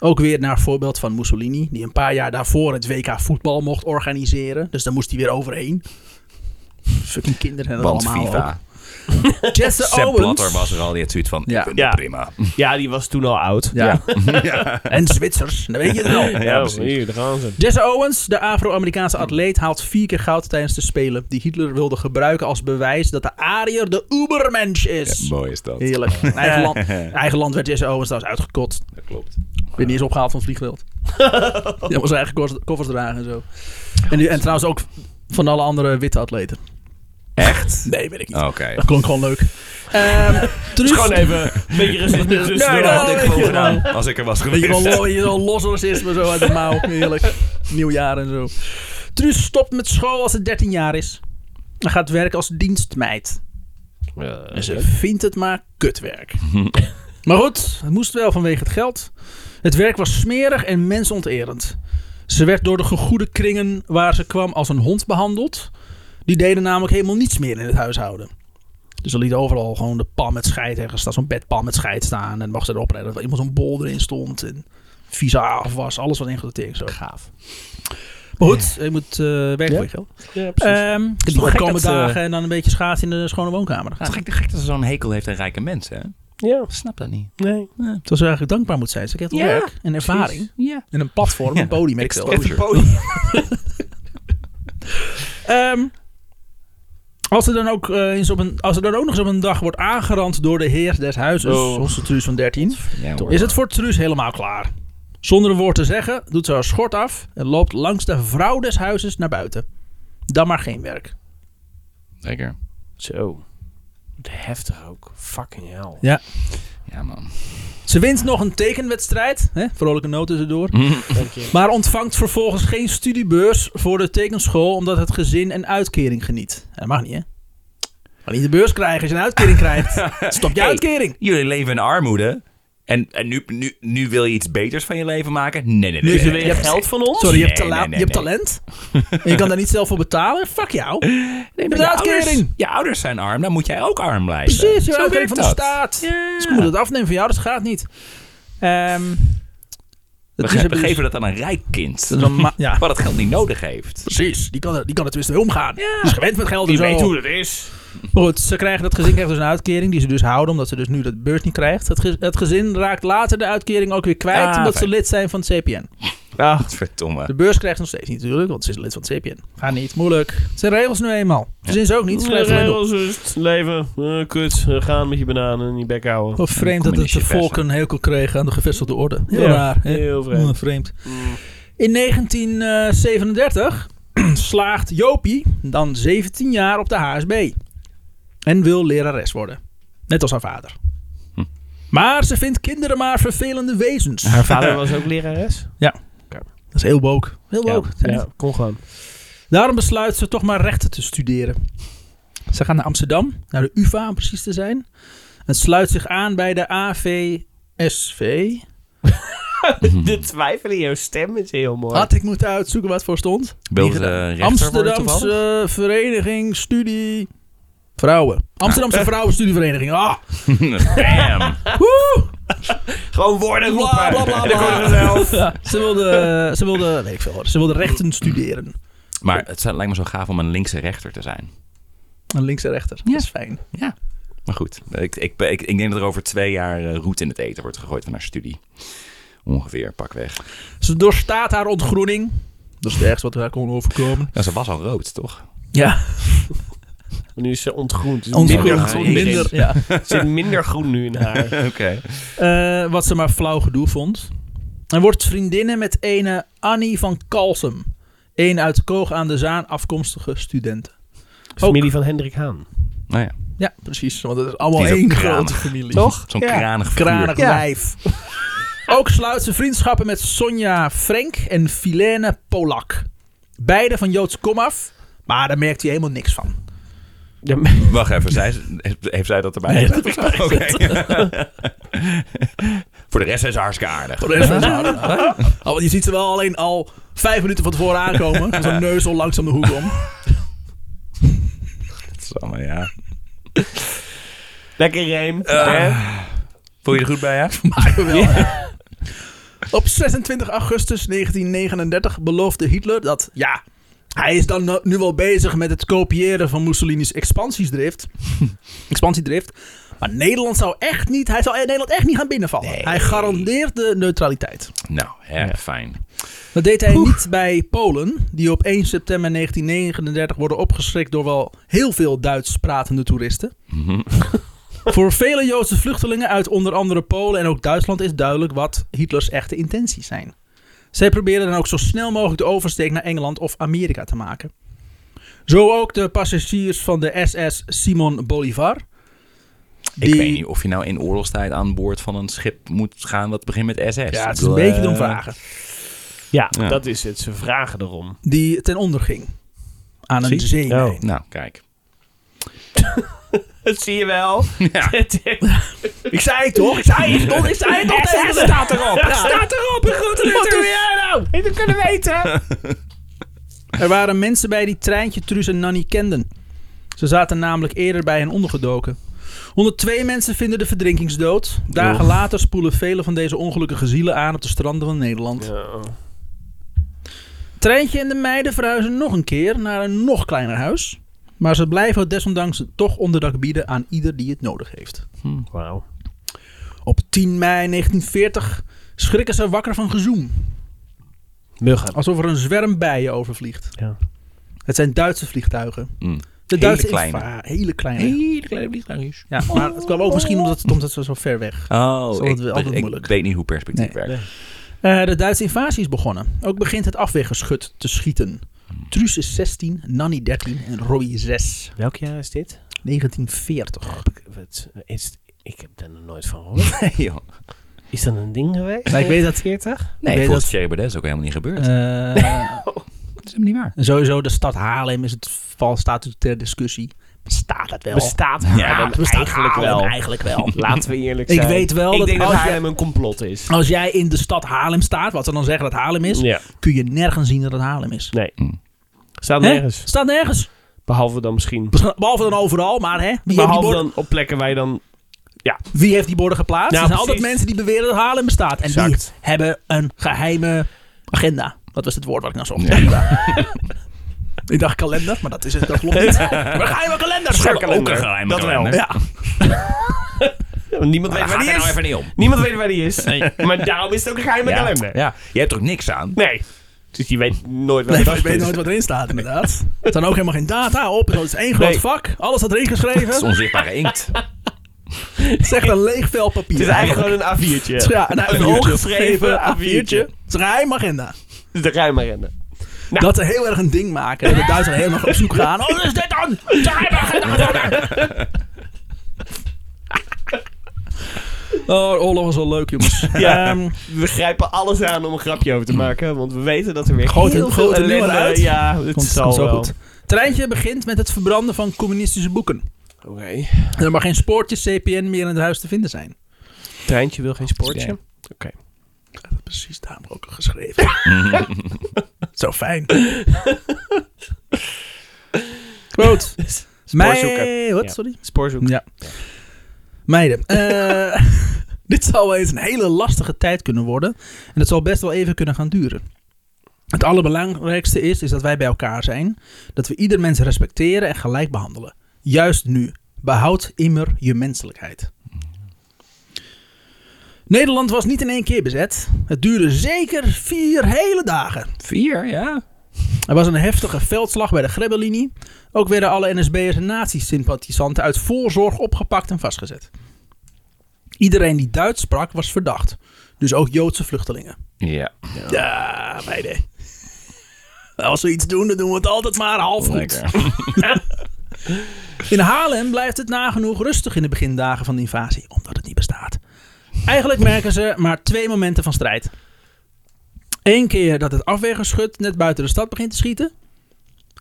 Ook weer naar voorbeeld van Mussolini, die een paar jaar daarvoor het WK voetbal mocht organiseren. Dus daar moest hij weer overheen. Fucking kinderen hebben dat
want
allemaal. ook.
FIFA.
Jesse
Sepp Blatter
Owens.
was er al. Die had zoiets van,
Ja.
ik vind
Ja.
het prima.
Ja, die was toen al oud.
Ja. en Zwitsers, dat weet je het wel.
Ja,
Oh,
precies.
hier, daar gaan ze.
Jesse Owens, de Afro-Amerikaanse atleet, haalt vier keer goud tijdens de Spelen. Die Hitler wilde gebruiken als bewijs dat de Ariër de Ubermensch is.
Mooi is dat.
Heerlijk. In Eigen land, in eigen land werd Jesse Owens trouwens uitgekotst.
Dat klopt.
Ik ben niet eens opgehaald van het vliegveld. Die moest zijn eigen koffers- koffers dragen en zo. En, die- en trouwens ook van alle andere witte atleten.
Echt? Oh,
Nee, weet ik niet.
Oké.
Dat klonk gewoon leuk. Ehm
Dus
Truus,
gewoon even een beetje rustig tussendoor.
Nee,
Nee,
dat
dat
had ik
weet
gewoon
je
gedaan. Als ik er was
Weet je wel,
geweest.
lo- weet je wel, los racisme zo uit de mouw. Heerlijk. Nieuwjaar en zo. Truus stopt met school als ze 13 jaar is. En gaat werken als dienstmeid. En ze vindt het maar kutwerk. maar goed, het moest wel vanwege het geld. Het werk was smerig en mensonterend. Ze werd door de gegoede kringen waar ze kwam als een hond behandeld. Die deden namelijk helemaal niets meer in het huishouden. Dus ze liet overal gewoon de pan met scheid ergens staan. Zo'n bedpan met scheid staan. En mocht ze erop redden dat er iemand zo'n bol erin stond. En vieze afwas. Alles wat ingedateerd zo. Gaaf. Maar goed, je moet eh werken voor je geld.
Ja,
Ehm dus
wel gek
komende
dat ze-
dagen en dan een beetje schaatsen in de schone woonkamer. Dan
Het
gaat
is
het.
gek, gek dat ze zo'n hekel heeft aan rijke mensen. Hè?
ja.
Ik snap dat niet.
Nee.
Terwijl ze eigenlijk dankbaar moet zijn. Ze krijgt
Ja,
werk en ervaring.
Ja.
En een platform,
Ja,
een podium. weet ik veel.
exposure.
Ehm, als, er dan ook, eh, eens op een, als er dan ook nog eens op een dag wordt aangerand door de heer des huizes,
Oh.
zoals de Truus van 13,
Ja, hoor.
is het voor Truus helemaal klaar. Zonder een woord te zeggen, doet ze haar schort af en loopt langs de vrouw des huizes naar buiten. Dan maar geen werk.
Zeker.
Zo. Wat Heftig ook. Fucking hell.
Ja, man.
Ze wint nog een tekenwedstrijd, hè? vrolijke noot tussendoor.
Mhm.
Dank je.
Maar ontvangt vervolgens geen studiebeurs voor de tekenschool omdat het gezin een uitkering geniet. Dat mag niet, hè? Maar niet de beurs krijgen als je een uitkering krijgt. Stop je
Hey.
uitkering.
Jullie leven in armoede. En, en nu, nu, nu wil je iets beters van je leven maken? Nee, nee, nee.
Nu
nee,
ze
nee.
weer-
Geld van ons?
Sorry, je hebt,
Nee,
tala-
nee, nee,
je hebt
nee.
talent. En je kan daar niet zelf voor betalen. Fuck jou.
Nee,
Met
maar je
uitkering.
ouders- Je ouders zijn arm, dan moet jij ook arm blijven.
Precies, je
Eh, Zo
uitkering
werkt
van de
dat.
staat. Dus ik moet het afnemen van jou, dat gaat niet. Ehm
We,
dat
ge-
is
we
een-
geven dat dus. aan een rijk kind.
dat is een ma- ja,
Wat het geld niet nodig heeft.
precies. Die kan, er, die kan er tenminste mee omgaan. Die is gewend met geld en
Die
zo.
weet hoe dat is.
Maar goed, ze krijgen dat gezin krijgt dus een uitkering die ze dus houden, omdat ze dus nu dat beurs niet krijgt. Het, ge- het gezin raakt later de uitkering ook weer kwijt,
Ah,
omdat
fijn.
ze lid zijn van het CPN.
Ach, verdomme.
De beurs krijgt nog steeds niet natuurlijk, want ze is lid van het CPN. Gaat niet, moeilijk. Het zijn regels nu eenmaal. Het is ook niet, schrijf alleen op.
Regels is het leven. Eh, kut. Eh, gaan met je bananen en je bek houden.
Wel vreemd dat het de
Communistische
volk een hekel kregen aan de gevestigde orde. Heel
Ja,
raar. hè?
heel vreemd.
Ja, vreemd.
Mm.
In 1937 slaagt Jopie, dan 17 jaar, op de HSB. En wil lerares worden. Net als haar vader.
Hm.
Maar ze vindt kinderen maar vervelende wezens.
Haar vader was ook lerares.
Dat is heel woke. Heel woke.
Ja, ja, kon gewoon.
Daarom besluit ze toch maar rechten te studeren. Ze gaat naar Amsterdam, naar de UvA om precies te zijn. En sluit zich aan bij de AVSV.
De twijfel in jouw stem is heel mooi.
Had ik moeten uitzoeken wat voor stond?
Wilde
Niet gedaan.
de rechter worden
Amsterdamse
toevallig?
eh, Vereniging Studie Vrouwen. Amsterdamse Vrouwenstudievereniging. Ah,
Bam!
woe!
Gewoon woorden roepen.
Bla, bla, bla,
En dan
bla.
komen we zelf.
Ze wilde, ze wilde, weet ik veel, hoor. ze wilde rechten studeren.
Maar het zou- lijkt me zo gaaf om een linkse rechter te zijn.
Een links en rechter. Dat is fijn.
Ja. Maar goed, ik, ik, ik, ik denk dat er over twee jaar eh, roet in het eten wordt gegooid van haar studie. Ongeveer, pakweg.
Ze doorstaat haar ontgroening. Dat is het ergste wat haar kon overkomen.
Ja, ze was al rood, toch?
Ja,
Nu is ze ontgroend. Dus
ontgroening.
minder
groen,
groen.
Minder, ja.
Er zit minder groen nu in haar.
Oké.
Eh, wat ze maar flauw gedoe vond. En wordt vriendinnen met ene Annie van Kalsum. Een uit Koog aan de Zaan afkomstige student.
Familie van Hendrik Haan.
Nou ja,
Ja, precies. Want het is allemaal
Die is ook
één
kranig.
grote familie.
Toch? Zo'n kranig figuur.
kranig
Ja.
wijf. Ook sluit ze vriendschappen met Sonja Frank en Filene Polak. Beide van Joods komaf, maar daar merkt hij helemaal niks van.
Ja,
wacht even. Zij, heeft zij dat erbij
Nee,
gezet
dat
of zo? Oké. Voor de rest zijn ze hartstikke aardig.
Voor de rest van zijn handen. Oh, want je ziet ze wel alleen al vijf minuten van tevoren aankomen. Met Zo'n neus al langzaam de hoek om.
Dat is allemaal, ja.
Lekker reem.
Voel je er goed bij, hè?
Maar wel. Op 26 augustus 1939 beloofde Hitler dat, ja, hij is dan nu- nu wel bezig met het kopiëren van Mussolini's expansiedrift. expansiedrift. Maar Nederland zou echt niet, hij zou Nederland echt niet gaan binnenvallen. Hij garandeerde neutraliteit.
Nou, hè, fijn.
Dat deed hij niet bij Polen, die op 1 september 1939 worden opgeschrikt door wel heel veel Duits pratende toeristen.
Mhm.
Voor vele Joodse vluchtelingen uit onder andere Polen en ook Duitsland is duidelijk wat Hitlers echte intenties zijn. Zij proberen dan ook zo snel mogelijk de oversteek naar Engeland of Amerika te maken. Zo ook de passagiers van de SS Simon Bolivar.
Ik weet niet of je nou in oorlogstijd aan boord van een schip moet gaan dat begint met SS.
Ja, het is
Ik
een
bedoel,
beetje
eh,
dom vragen.
Ja,
Ja.
dat is het. Ze vragen erom.
Die ten onder ging. Aan een
Precies.
zee.
Oh.
Nou, kijk.
Dat zie je wel.
Ja.
Ik zei het toch? Ik zei het toch? Ik zei het toch tegen
Het
ze?
staat erop.
Ja.
Het staat erop. Een grote letter.
Wat doe
jij nou? Niet kunnen weten.
Er waren mensen bij die treintje Truus en Nanny kenden. Ze zaten namelijk eerder bij hen ondergedoken. 102 mensen vinden de verdrinkingsdood. Dagen
Och.
later spoelen vele van deze ongelukkige zielen aan op de stranden van Nederland.
oh,
Treintje en de meiden verhuizen nog een keer naar een nog kleiner huis. Maar ze blijven het desondanks toch onderdak bieden aan ieder die het nodig heeft.
Wauw.
Op 10 mei 1940 schrikken ze wakker van gezoem.
Muggen.
Alsof er een zwerm bijen overvliegt.
Ja.
Het zijn Duitse vliegtuigen.
Mm.
De
Hele
Duitse
kleine.
infa- hele kleine.
Hele kleine vliegtuigjes.
Ja, maar het kwam ook misschien omdat, omdat ze zo ver weg. Zo,
Oh,
dat
ik,
is altijd
ik
moeilijk.
weet niet hoe perspectief
Nee.
werkt.
Nee.
Eh, de Duitse invasie is begonnen. Ook begint het afweergeschut te schieten. Truus is 16, Nanny 13 en Roy 6.
Welk jaar is dit?
1940.
Wat is, ik heb daar nog nooit van gehoord.
Nee, joh.
Is dat een ding geweest?
Nou, ik weet dat-
40?
Nee,
weet
volgens
dat-
Thierry Baudet is ook helemaal niet gebeurd.
Eh,
dat is helemaal niet waar.
sowieso de stad Haarlem is het val staat natuurlijk ter discussie. Bestaat het wel?
Bestaat
ja,
Haarlem
het bestaat
eigenlijk
Haarlem
wel?
eigenlijk wel.
Laten we eerlijk
Ik
zijn.
weet wel
ik
dat
denk dat
als je-
Haarlem een complot is.
Als jij in de stad Haarlem staat, wat ze dan zeggen dat Haarlem is,
Ja.
kun je nergens zien dat het Haarlem is.
Nee.
Mm.
Staat
Hè?
nergens.
Staat nergens.
Behalve dan misschien.
Behalve dan overal, maar hè? Wie, heeft die
Behalve
borden-
dan op plekken waar je dan...
Wie heeft die borden geplaatst?
Nou,
er zijn altijd
precies.
mensen die beweren dat Haarlem bestaat. En die
Exact.
hebben een geheime agenda. Dat was het woord wat ik nou zocht. ik dacht kalender, maar dat, is het, dat klopt niet. Maar een geheime kalender.
Scheurkalender.
Ook een geheime
Dat wel.
kalender.
Ja.
Niemand weet waar
Daar gaat
die
hij
is.
nou even niet om.
Niemand weet waar die is. Maar daarom is het ook een geheime kalender.
ja. Je hebt er ook niks aan.
Nee. Dus je weet nooit waar
Nee,
die
ik weet nooit wat erin staat, inderdaad. Er staan ook helemaal geen data op. Het is één groot
Nee.
vak. Alles staat erin
Het is
geschreven.
onzichtbare inkt.
Het is echt een leeg vel papier.
Het is eigenlijk gewoon een A4'tje.
Ja, en hij heeft een hooggeschreven A4'tje. Het is een geheime agenda.
Dus de ruime rennen.
Dat ze heel erg een ding maken. Dat de Duitsers helemaal op zoek gaan. Oh, wat is dit dan? Het is een geheime agenda. Oh, oorlog was wel leuk, jongens.
Ja.
Ehm,
We grijpen alles aan om een grapje over te maken. Want we weten dat er weer
Grote-
heel veel
grote nummer
ellende...
uit.
Ja, het
komt,
zal
komt zo
wel.
goed. Treintje begint met het verbranden van communistische boeken.
Oké.
En er mag geen spoortje CPN meer in het huis te vinden zijn.
Treintje wil geen sportje.
Nee.
Oké.
precies daarom ook geschreven. Zo fijn. Quote. Mij... Wat,
Ja.
sorry?
Spoorzoek.
Ja. Meiden, eh, dit zal wel eens een hele lastige tijd kunnen worden. En dat zal best wel even kunnen gaan duren. Het allerbelangrijkste is, is dat wij bij elkaar zijn. Dat we ieder mens respecteren en gelijk behandelen. Juist nu. Behoud immer je menselijkheid. Nederland was niet in één keer bezet. Het duurde zeker vier hele dagen.
Vier, ja.
Er was een heftige veldslag bij de Grebbelinie. Ook werden alle NSB'ers en nazi-sympathisanten uit voorzorg opgepakt en vastgezet. Iedereen die Duits sprak was verdacht. Dus ook Joodse vluchtelingen.
Ja.
Ja, meiden. Als we iets doen, dan doen we het altijd maar half goed.
Lekker.
In Haarlem blijft het nagenoeg rustig in de begindagen van de invasie, omdat het niet bestaat. Eigenlijk merken ze maar twee momenten van strijd. Eén keer dat het afweergeschut net buiten de stad begint te schieten.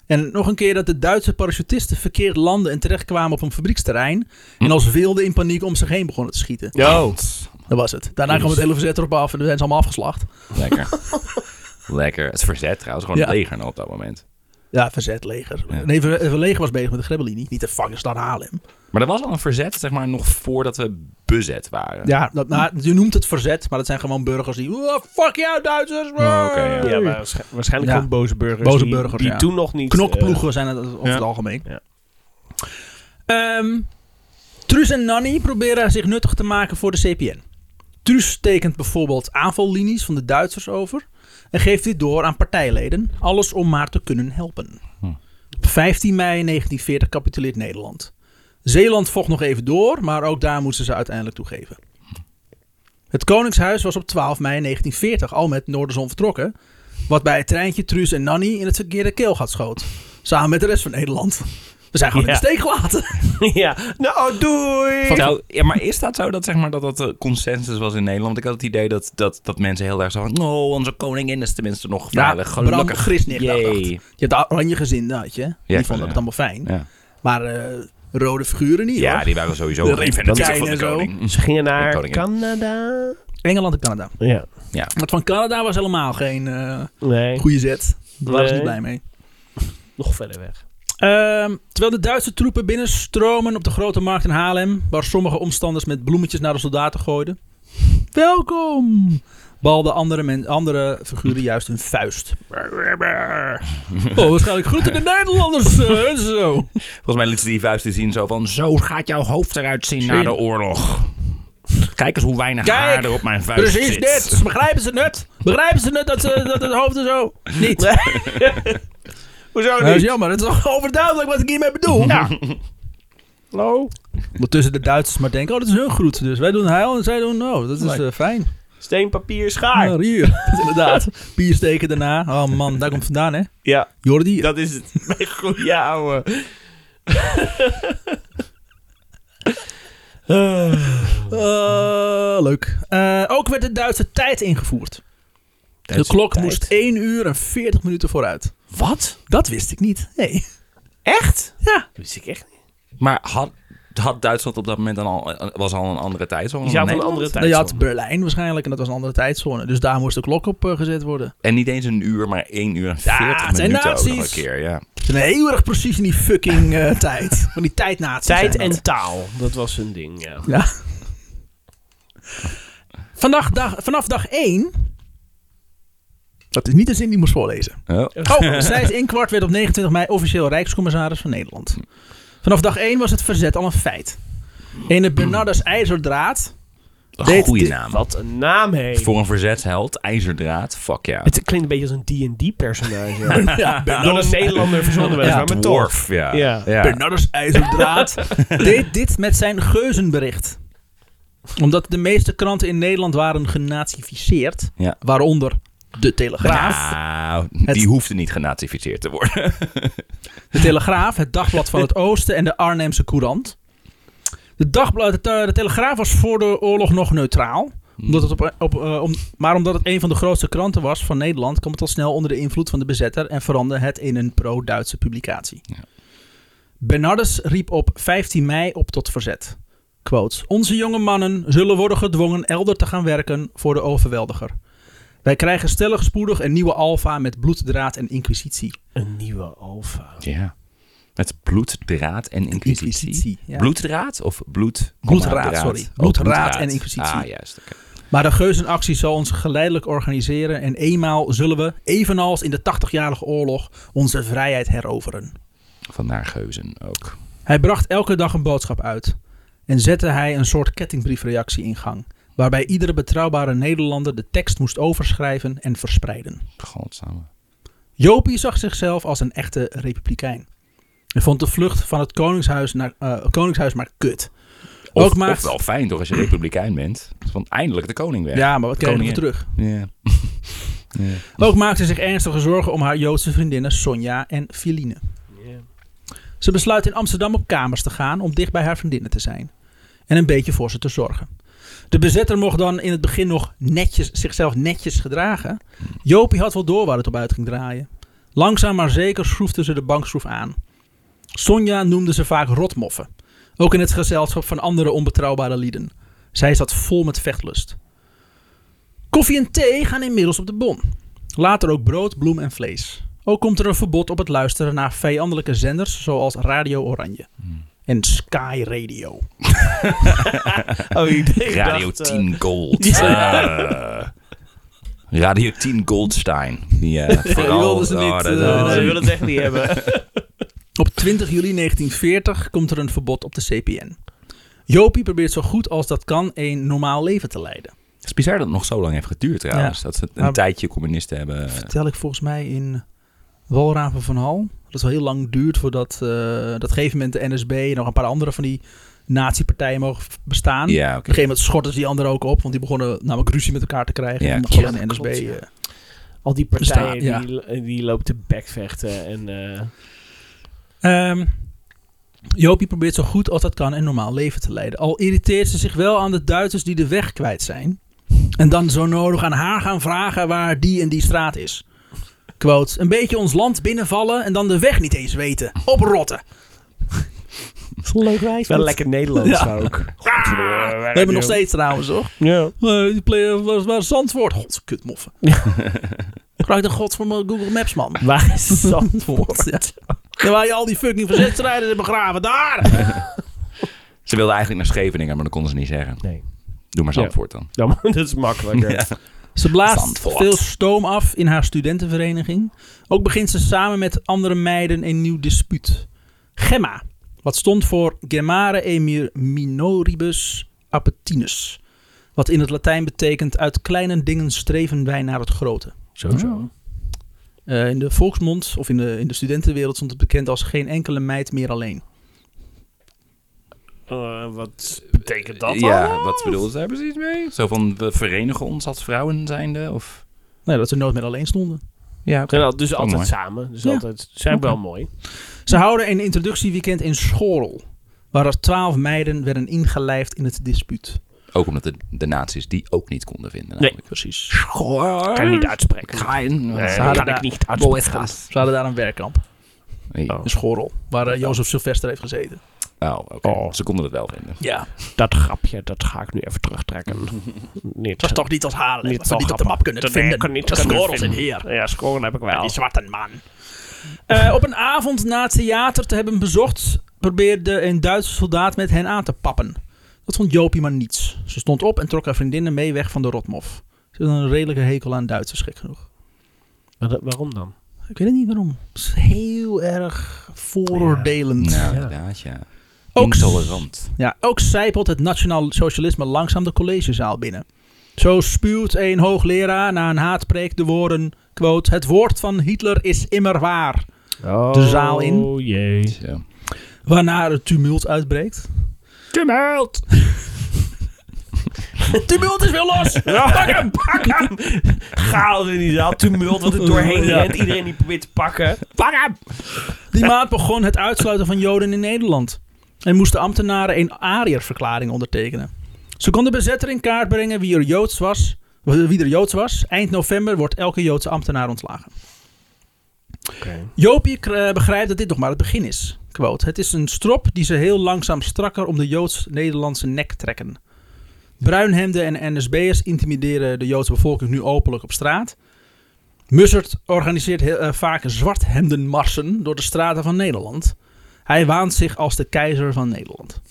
En nog een keer dat de Duitse parachutisten verkeerd landen en terechtkwamen op een fabrieksterrein. En als wilden in paniek om zich heen begonnen te schieten.
Yo.
Dat was het. Daarna kwam het hele verzet erop af en dan zijn ze allemaal afgeslacht.
Lekker. Lekker. Het verzet trouwens. Gewoon
Ja.
het leger nou op dat moment.
Ja, verzet, leger.
Ja.
Nee, ver- ver- leger was bezig met de Grebbelinie, niet de vangenstad Haarlem.
Maar er was al een verzet, zeg maar, nog voordat we bezet waren.
Ja, dat, nou, je noemt het verzet, maar dat zijn gewoon burgers die... "Oh, fuck jou Duitsers!
Oh, oké, ja.
Ja, maar waarsch- waarschijnlijk
Ja.
gewoon boze burgers.
Boze
die,
burgers,
Die
ja.
toen nog niet...
Knokploegen zijn het over
ja.
het algemeen.
Ja.
Ehm, Truus en Nanny proberen zich nuttig te maken voor de CPN. Truus tekent bijvoorbeeld aanvallinies van de Duitsers over en geeft dit door aan partijleden, alles om maar te kunnen helpen.
Hm.
Op 15 mei 1940 capituleert Nederland. Zeeland vocht nog even door, maar ook daar moesten ze uiteindelijk toegeven. Het Koningshuis was op 12 mei 1940 al met Noorderzon vertrokken, wat bij het treintje Truus en Nanny in het verkeerde keelgat schoot. Samen met de rest van Nederland. We zijn gewoon in de steek gelaten.
eh, ja. Nou, doei!
Nou, ja, maar is dat zo dat, zeg maar, dat dat eh, consensus was in Nederland? Want ik had het idee dat, dat, dat mensen heel erg zo van... Oh, onze koningin is tenminste nog veilig.
Bram
Gelukkig.
Grisnicht. dacht dat.
Jee.
Je hebt de oranje gezin, dat je. Die
Ja,
vonden
ja.
het allemaal fijn.
Ja.
Maar eh, rode figuren niet,
ja,
hoor.
die waren sowieso
De
geen fan
Republikeinen
van de Mm.
en zo.
koning.
Ze gingen naar
koningin.
Canada.
Engeland en Canada.
Ja.
Ja.
Want van Canada was helemaal geen eh,
Nee,
goede zet. Daar waren ze niet
Nee.
blij mee.
nog verder weg.
Ehm, terwijl de Duitse troepen binnenstromen op de grote markt in Haarlem, waar sommige omstanders met bloemetjes naar de soldaten gooiden. Welkom! Balden andere, men, andere figuren juist hun vuist. Oh, waarschijnlijk groeten de Nederlanders. eh, en zo.
Volgens mij liet ze die vuist te zien zo van... Zo gaat jouw hoofd eruit zien na de oorlog. Kijk eens hoe weinig
Kijk,
haar er op mijn vuist
Precies
zit.
dit. Begrijpen ze het? Begrijpen ze het dat, ze, dat het hoofd er zo niet?
Hoezo
Nou, dat is
niet?
jammer. Dat is toch overduidelijk wat ik hiermee bedoel.
Hallo?
Ondertussen de Duitsers maar denken, oh, dat is hun groet. Dus wij doen heil en zij doen no. Dat is
Leuk.
eh, fijn.
Steen, papier, schaar.
Nou, hier. Inderdaad. Bier steken daarna. Oh man, daar komt het vandaan, hè?
Ja,
Jordi.
dat is het. Mijn goede ouwe.
Eh, leuk. Eh, ook werd de Duitse tijd ingevoerd. de klok moest 1 uur en 40 minuten vooruit.
Wat?
Dat wist ik niet. Nee.
Echt?
Ja.
Dat wist ik echt niet.
Maar had, had Duitsland op dat moment dan al, eh, was al een andere tijdzone?
Die zou
dan
van een andere
Nederland?
Nou, je had
tijd
Berlijn waarschijnlijk en dat was een andere tijdzone. Dus daar moest de klok op eh, gezet worden.
En niet eens een uur, maar één uur en veertig
het zijn
minuten ook nog een
nazi's.
keer. Ja.
Ze zijn heel erg precies in die fucking eh, tijd. Van die tijdnaties.
Tijd
zijn dat.
en taal. Dat was hun ding, ja.
Ja. Vandaag dag, vanaf dag 1. Dat is niet de zin die ik moest voorlezen.
Oh.
Oh, Snijs Inkwart werd op 29 mei officieel Rijkscommissaris van Nederland. Vanaf dag 1 was het verzet al een feit. Ene Bernardus IJzerdraad.
Een
Deed
goede
dit-
Oh, naam.
Wat een naam, hé.
Voor een verzetsheld, ijzerdraad, fuck ja.
Het klinkt een beetje als een D&D-personage.
Ja,
Door een Nederlander verzonnen werd,
Ja,
maar met toch.
Dwarf, ja.
Ja.
Bernardus IJzerdraad deed dit met zijn geuzenbericht. Omdat de meeste kranten in Nederland waren genazificeerd.
Ja.
Waaronder De Telegraaf.
Nou,
Het-
die hoefde niet genatificeerd te worden.
De Telegraaf, het Dagblad van het Oosten en de Arnhemse Courant. De, dagblad, de, Te- de Telegraaf was voor de oorlog nog neutraal. Omdat het op, op, eh, om- maar omdat het een van de grootste kranten was van Nederland, kwam het al snel onder de invloed van de bezetter en veranderde het in een pro-Duitse publicatie. Bernardus riep op 15 mei op tot verzet. Quotes, Onze jonge mannen zullen worden gedwongen elder te gaan werken voor de overweldiger. Wij krijgen stellig spoedig een nieuwe alfa met bloeddraad en inquisitie.
Een nieuwe alfa.
Ja. Met bloeddraad en inquisitie.
Inquisitie, ja.
Bloeddraad of bloed?
Bloedraad,
draad?
sorry.
Oh,
Bloedraad en inquisitie.
Ah, juist. oké.
Maar de geuzenactie zal ons geleidelijk organiseren en eenmaal zullen we, evenals in de 80-jarige oorlog, onze vrijheid heroveren.
Van naar geuzen ook.
Hij bracht elke dag een boodschap uit en zette hij een soort kettingbriefreactie in gang, waarbij iedere betrouwbare Nederlander de tekst moest overschrijven en verspreiden.
Godsamme.
Jopie zag zichzelf als een echte republikein. En vond de vlucht van het koningshuis, naar, eh, koningshuis maar kut.
Of,
Ook maar-
of wel fijn toch als je republikein bent. Van eindelijk de koning
Ja,
weg.
maar wat kregen we
Koningin.
terug?
Ja. ja.
Ook maakte ze zich ernstige zorgen om haar Joodse vriendinnen Sonja en Filine. Ze besluit in Amsterdam op kamers te gaan om dicht bij haar vriendinnen te zijn. En een beetje voor ze te zorgen. De bezetter mocht dan in het begin nog netjes, zichzelf netjes gedragen. Jopie had wel door waar het op uit ging draaien. Langzaam maar zeker schroefde ze de bankschroef aan. Sonja noemde ze vaak rotmoffen. Ook in het gezelschap van andere onbetrouwbare lieden. Zij zat vol met vechtlust. Koffie en thee gaan inmiddels op de bon. Later ook brood, bloem en vlees. Ook komt er een verbod op het luisteren naar vijandelijke zenders zoals Radio Oranje en Sky Radio.
Oh, ik ik
Radio
dacht, eh,
10 Gold. Ah. Radio 10 Goldstein. Die, eh, vooral,
wilden ze
oh,
niet,
dat-
eh,
dat-
oh,
Nee.
ze willen het echt niet hebben.
Op 20 juli 1940 komt er een verbod op de CPN. Jopie probeert zo goed als dat kan een normaal leven te leiden.
Het is bizar dat het nog zo lang heeft geduurd trouwens. Dat ze een
Nou,
Maar-
tijdje communisten hebben.
Vertel ik volgens mij in Walraven van Hal. Dat het wel heel lang duurt voordat eh dat gegeven moment de NSB en nog een paar andere van die nazi-partijen mogen v- bestaan.
Ja,
Op
oké.
een gegeven moment schortten ze die anderen ook op, want die begonnen namelijk ruzie met elkaar te krijgen.
Ja,
en
klopt.
dan de
Ja,
NSB.
klopt, ja.
eh,
Al die partijen
Bestaan,
die, eh, die loopt te bekvechten. En, eh,
Ehm Jopie probeert zo goed als dat kan een normaal leven te leiden. Al irriteert ze zich wel aan de Duitsers die de weg kwijt zijn. En dan zo nodig aan haar gaan vragen waar die en die straat is. Quote, een beetje ons land binnenvallen en dan de weg niet eens weten. Oprotten.
leuk wijs. Wel lekker Nederlands
Ja.
ook.
Ah, We hebben nog steeds trouwens, toch?
Ja.
Eh, Die player was waar Zandvoort. God, kutmoffen. Gebruik de god voor mijn Google Maps, man.
Waar is
Zandvoort. Ja. Ja, waar je al die fucking verzetstrijders hebt begraven. Daar!
Ze wilden eigenlijk naar Scheveningen, maar dat konden ze niet zeggen.
Nee.
Doe maar
Ja.
Zandvoort dan.
Ja, maar dat is makkelijker.
Ze blaast
Zandvoort.
veel stoom af in haar studentenvereniging. Ook begint ze samen met andere meiden een nieuw dispuut. Gemma, wat stond voor Gemare Emir Minoribus Apetinus. Wat in het Latijn betekent uit kleine dingen streven wij naar het grote.
Sowieso.
Eh, in de volksmond of in de, in de studentenwereld stond het bekend als geen enkele meid meer alleen.
Eh, wat betekent dat dan?
ja, wat bedoelde ze daar precies mee? Zo van, we verenigen ons als vrouwen zijnde? Of...
Nou, dat ze nooit meer alleen stonden.
Ja,
Zijn al- dus altijd
mooi.
samen. Dus
Ja.
altijd, zijn wel mooi.
Ze houden een introductieweekend in Schorl, waar er twaalf meiden werden ingelijfd in het dispuut.
Ook omdat de, de nazi's die ook niet konden vinden.
Nee,
precies.
Kan niet uitspreken.
Schijn.
Nee,
Zara-
kan ik niet uitspreken.
Ze hadden daar een werkkamp
Nee.
Oh.
in Schorl, waar eh, Jozef Sylvester heeft gezeten.
Oh, oké.
Oh.
Ze konden het wel vinden.
Ja,
Dat grapje, dat ga ik nu even terugtrekken. niet,
dat is toch niet als Haarlem.
niet
dat we
zo
niet op de
grappig.
map kunnen
Dat
vinden.
ik kan niet
dat
kunnen
Schorl zijn
vinden.
heer.
Ja, schoren heb ik wel.
Die zwarte man. Eh, op een avond na het theater te hebben bezocht, probeerde een Duitse soldaat met hen aan te pappen. Dat vond Jopie maar niets. Ze stond op en trok haar vriendinnen mee weg van de rotmof. Ze had een redelijke hekel aan Duitsers, gek genoeg.
Wa- Waarom dan?
Ik weet het niet waarom. Het is heel erg vooroordelend. Ja.
Nou, inderdaad, ja.
Ook-
Intolerant.
ook zijpelt het nationaal socialisme langzaam de collegezaal binnen. Zo spuwt een hoogleraar na een haatpreek de woorden, quote, het woord van Hitler is immer waar. De zaal in.
Oh jee.
Zo.
Waarna er tumult uitbreekt.
Gemeld!
Tumult is weer los!
Pak hem, pak hem! Chaos in die zaal, tumult wat er doorheen
Ja.
rent. Iedereen die probeert te pakken. Pak hem!
Die maand begon het uitsluiten van Joden in Nederland. En moesten ambtenaren een Ariërverklaring ondertekenen. Ze konden bezetter in kaart brengen wie er Joods was. Wie er Joods was. Eind november wordt elke Joodse ambtenaar ontslagen. Jopie eh, begrijpt dat dit nog maar het begin is. Quote, het is een strop die ze heel langzaam strakker om de Joods-Nederlandse nek trekken. Bruinhemden en NSB'ers intimideren de Joodse bevolking nu openlijk op straat. Mussert organiseert heel, eh, vaak zwarthemdenmarsen door de straten van Nederland. Hij waant zich als de keizer van Nederland.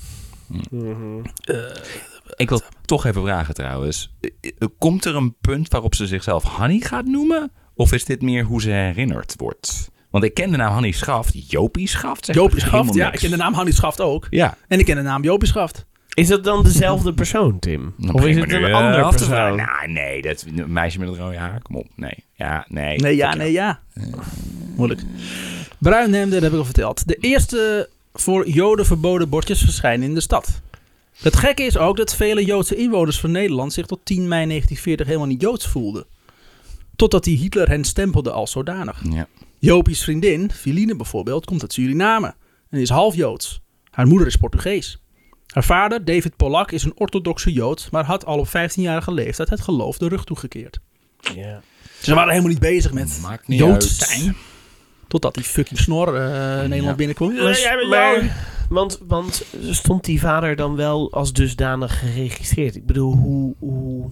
Ik wil toch even vragen trouwens. Eh, Komt er een punt waarop ze zichzelf Hanny gaat noemen? Of is dit meer hoe ze herinnerd wordt? Want ik ken de naam Hanny Schaft. Jopie Schaft? zegt
Jopie
me
Schaft,
helemaal
ja, ik nou-
niks.
ken de naam Hannie Schaft ook.
Ja,
En ik ken de naam Jopie Schaft.
Is dat dan dezelfde persoon, Tim?
Dan
of is
begin
het
ik me
een
nu, eh,
andere
af te vragen.
persoon?
Nou, nee, dat een meisje met het rode haar. Kom op. Nee. Ja, nee.
Nee, ja, nee, ja. Moeilijk. Bruinhemden, dat heb ik al verteld. De eerste voor Joden verboden bordjes verschijnen in de stad. Het gekke is ook dat vele Joodse inwoners van Nederland zich tot 10 mei 1940 helemaal niet Joods voelden. Totdat die Hitler hen stempelde als zodanig.
Ja.
Jopies vriendin, Filine bijvoorbeeld, komt uit Suriname en is half Joods. Haar moeder is Portugees. Haar vader, David Polak, is een orthodoxe Jood, maar had al op 15-jarige leeftijd het geloof de rug toegekeerd.
Ja.
Ze waren helemaal niet bezig met
Maakt niet
Joods
uit.
zijn. Totdat die fucking snor eh, Nederland
Ja.
binnenkwam.
Maar-
Ja, jij bent
maar-
Jood.
Want, want stond die vader dan wel als dusdanig geregistreerd? Ik bedoel, hoe... hoe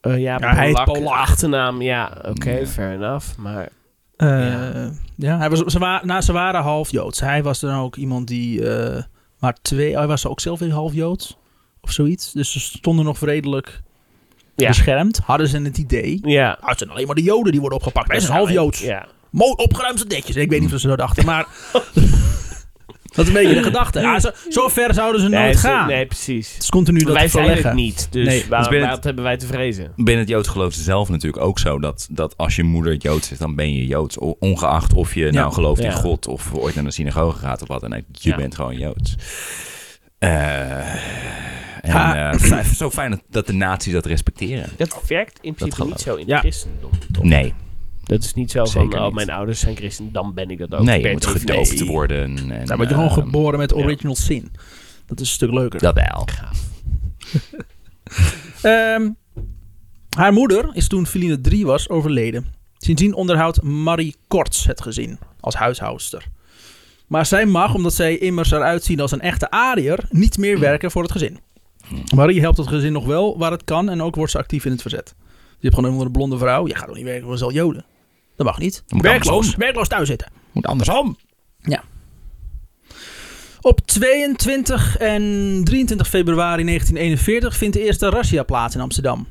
eh, ja,
Ja, hij heet
Polak,
Polak.
achternaam. Ja, oké,
Ja.
fair enough. Maar
Eh, ja, hij was, ze, wa- nou, ze waren half Joods. Hij was dan ook iemand die eh, maar twee... Hij was ook zelf weer half Joods of zoiets. Dus ze stonden nog redelijk
Dus
Ja.
beschermd. Hadden ze het idee.
ja.
Ah, het zijn alleen maar de Joden die worden opgepakt. Wij zijn half Joods.
Ja.
Mooi opgeruimde netjes. Ik weet niet of ze dat dachten, maar... dat is een beetje de gedachte. Ja, zo, zo ver zouden ze nooit
Nee, ze-
gaan.
nee,
Het
precies.
is continu dat
Wij zijn het
verleggen.
niet, dus
Nee,
waarom,
dus ben het-
wat hebben wij te vrezen?
Binnen het Joods geloof zelf natuurlijk ook zo dat, dat als je moeder Joods is, dan ben je Joods. O- Ongeacht of je nou gelooft
Ja.
in God of ooit naar de synagoge gaat of wat. En je
Ja.
bent gewoon Joods. Eh, en,
Ha.
eh, fijn- zo fijn dat, dat de naties dat respecteren.
Dat werkt in principe
geloof
niet zo in
Ja.
het christendom.
Nee,
Dat is niet zo
Zeker
van, oh,
niet.
mijn ouders zijn christen, dan ben ik dat ook.
nee, je
per
moet
definitie.
gedoofd worden. En,
Dan word je gewoon
Ehm,
eh,
geboren met original sin. Dat is een stuk leuker.
Dat wel.
Ehm, haar moeder is toen Feline 3 was overleden. Sindsdien onderhoudt Marie Korts het gezin als huishoudster. Maar zij mag, omdat zij immers eruit zien als een echte Ariër, niet meer werken voor het gezin. Marie helpt het gezin nog wel waar het kan en ook wordt ze actief in het verzet. Je hebt gewoon een andere blonde vrouw. Je gaat toch niet werken voor zo'n joden? Dat mag niet.
moet
Werkloos,
andersom.
werkloos thuis zitten.
Moet andersom.
Op 22 en 23 februari 1941 vindt de eerste razzia plaats in Amsterdam.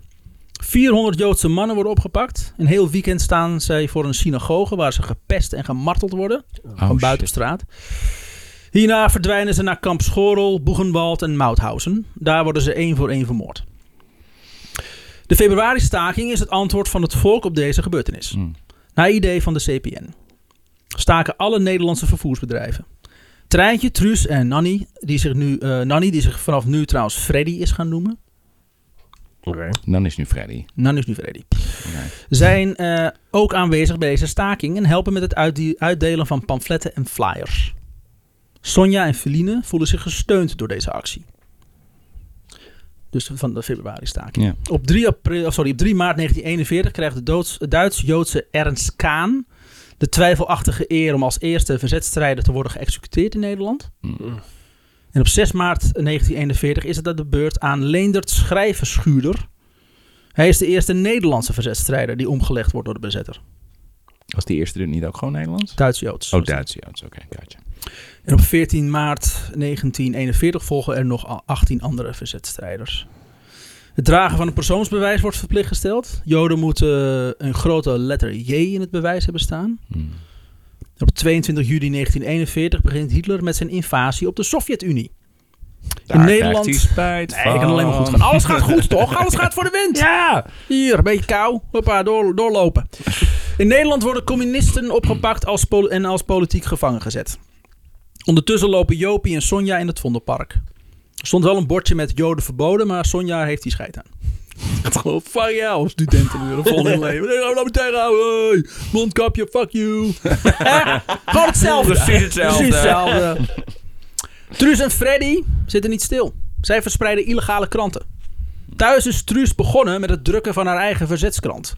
400 Joodse mannen worden opgepakt. Een heel weekend staan zij voor een synagoge waar ze gepest en gemarteld worden. van buiten op straat. Hierna verdwijnen ze naar kamp Schorel, Boegenwald en Mauthausen. Daar worden ze één voor één vermoord. De februari-staking is het antwoord van het volk op deze gebeurtenis.
Hmm.
Naar idee van de CPN. Staken alle Nederlandse vervoersbedrijven. Treintje, Truus en Nanny, die zich, nu, eh, Nanny, die zich vanaf nu trouwens Freddy is gaan noemen.
Oké.
Dan is nu Freddy.
Nanny is nu Freddy.
Nee.
Zijn eh, ook aanwezig bij deze staking en helpen met het uitde- uitdelen van pamfletten en flyers. Sonja en Feline voelen zich gesteund door deze actie. Dus van de februari staking.
Ja.
Op, 3 april, of sorry, op 3 maart 1941 krijgt de Doods- Duits-Joodse Ernst Kaan de twijfelachtige eer om als eerste verzetstrijder te worden geëxecuteerd in Nederland.
Mm.
En op 6 maart 1941 is het aan de beurt aan Leendert Schrijverschuurder. Hij is de eerste Nederlandse verzetstrijder die omgelegd wordt door de bezetter.
Was die eerste er niet ook gewoon Nederlands?
Duits-Joods.
Oh, Duits Joods. Oké, gotcha.
En op 14 maart 1941 volgen er nog a- 18 andere verzetstrijders. Het dragen van een persoonsbewijs wordt verplicht gesteld. Joden moeten eh, een grote letter J in het bewijs hebben staan.
Hmm.
Op 22 juli 1941 begint Hitler met zijn invasie op de Sovjet-Unie.
Daar krijgt
Nederland-
hij spijt
Nee, ik kan alleen maar goed gaan. Alles gaat goed, toch? Alles gaat voor de wind.
Ja!
Hier, een beetje kou. Hoppa, door, doorlopen. In Nederland worden communisten opgepakt als pol- en als politiek gevangen gezet. Ondertussen lopen Jopie en Sonja in het Vondelpark. Er stond wel een bordje met Joden verboden, maar Sonja heeft die scheid aan. Het gewoon, fuck jou, studenten nu, de volgende leven. Nee, nou, laat me tegenhouden. hey. Mondkapje, fuck you. Eh, Gewoon hetzelfde.
Precies hetzelfde.
Precies hetzelfde. Truus en Freddy zitten niet stil. Zij verspreiden illegale kranten. Thuis is Truus begonnen met het drukken van haar eigen verzetskrant.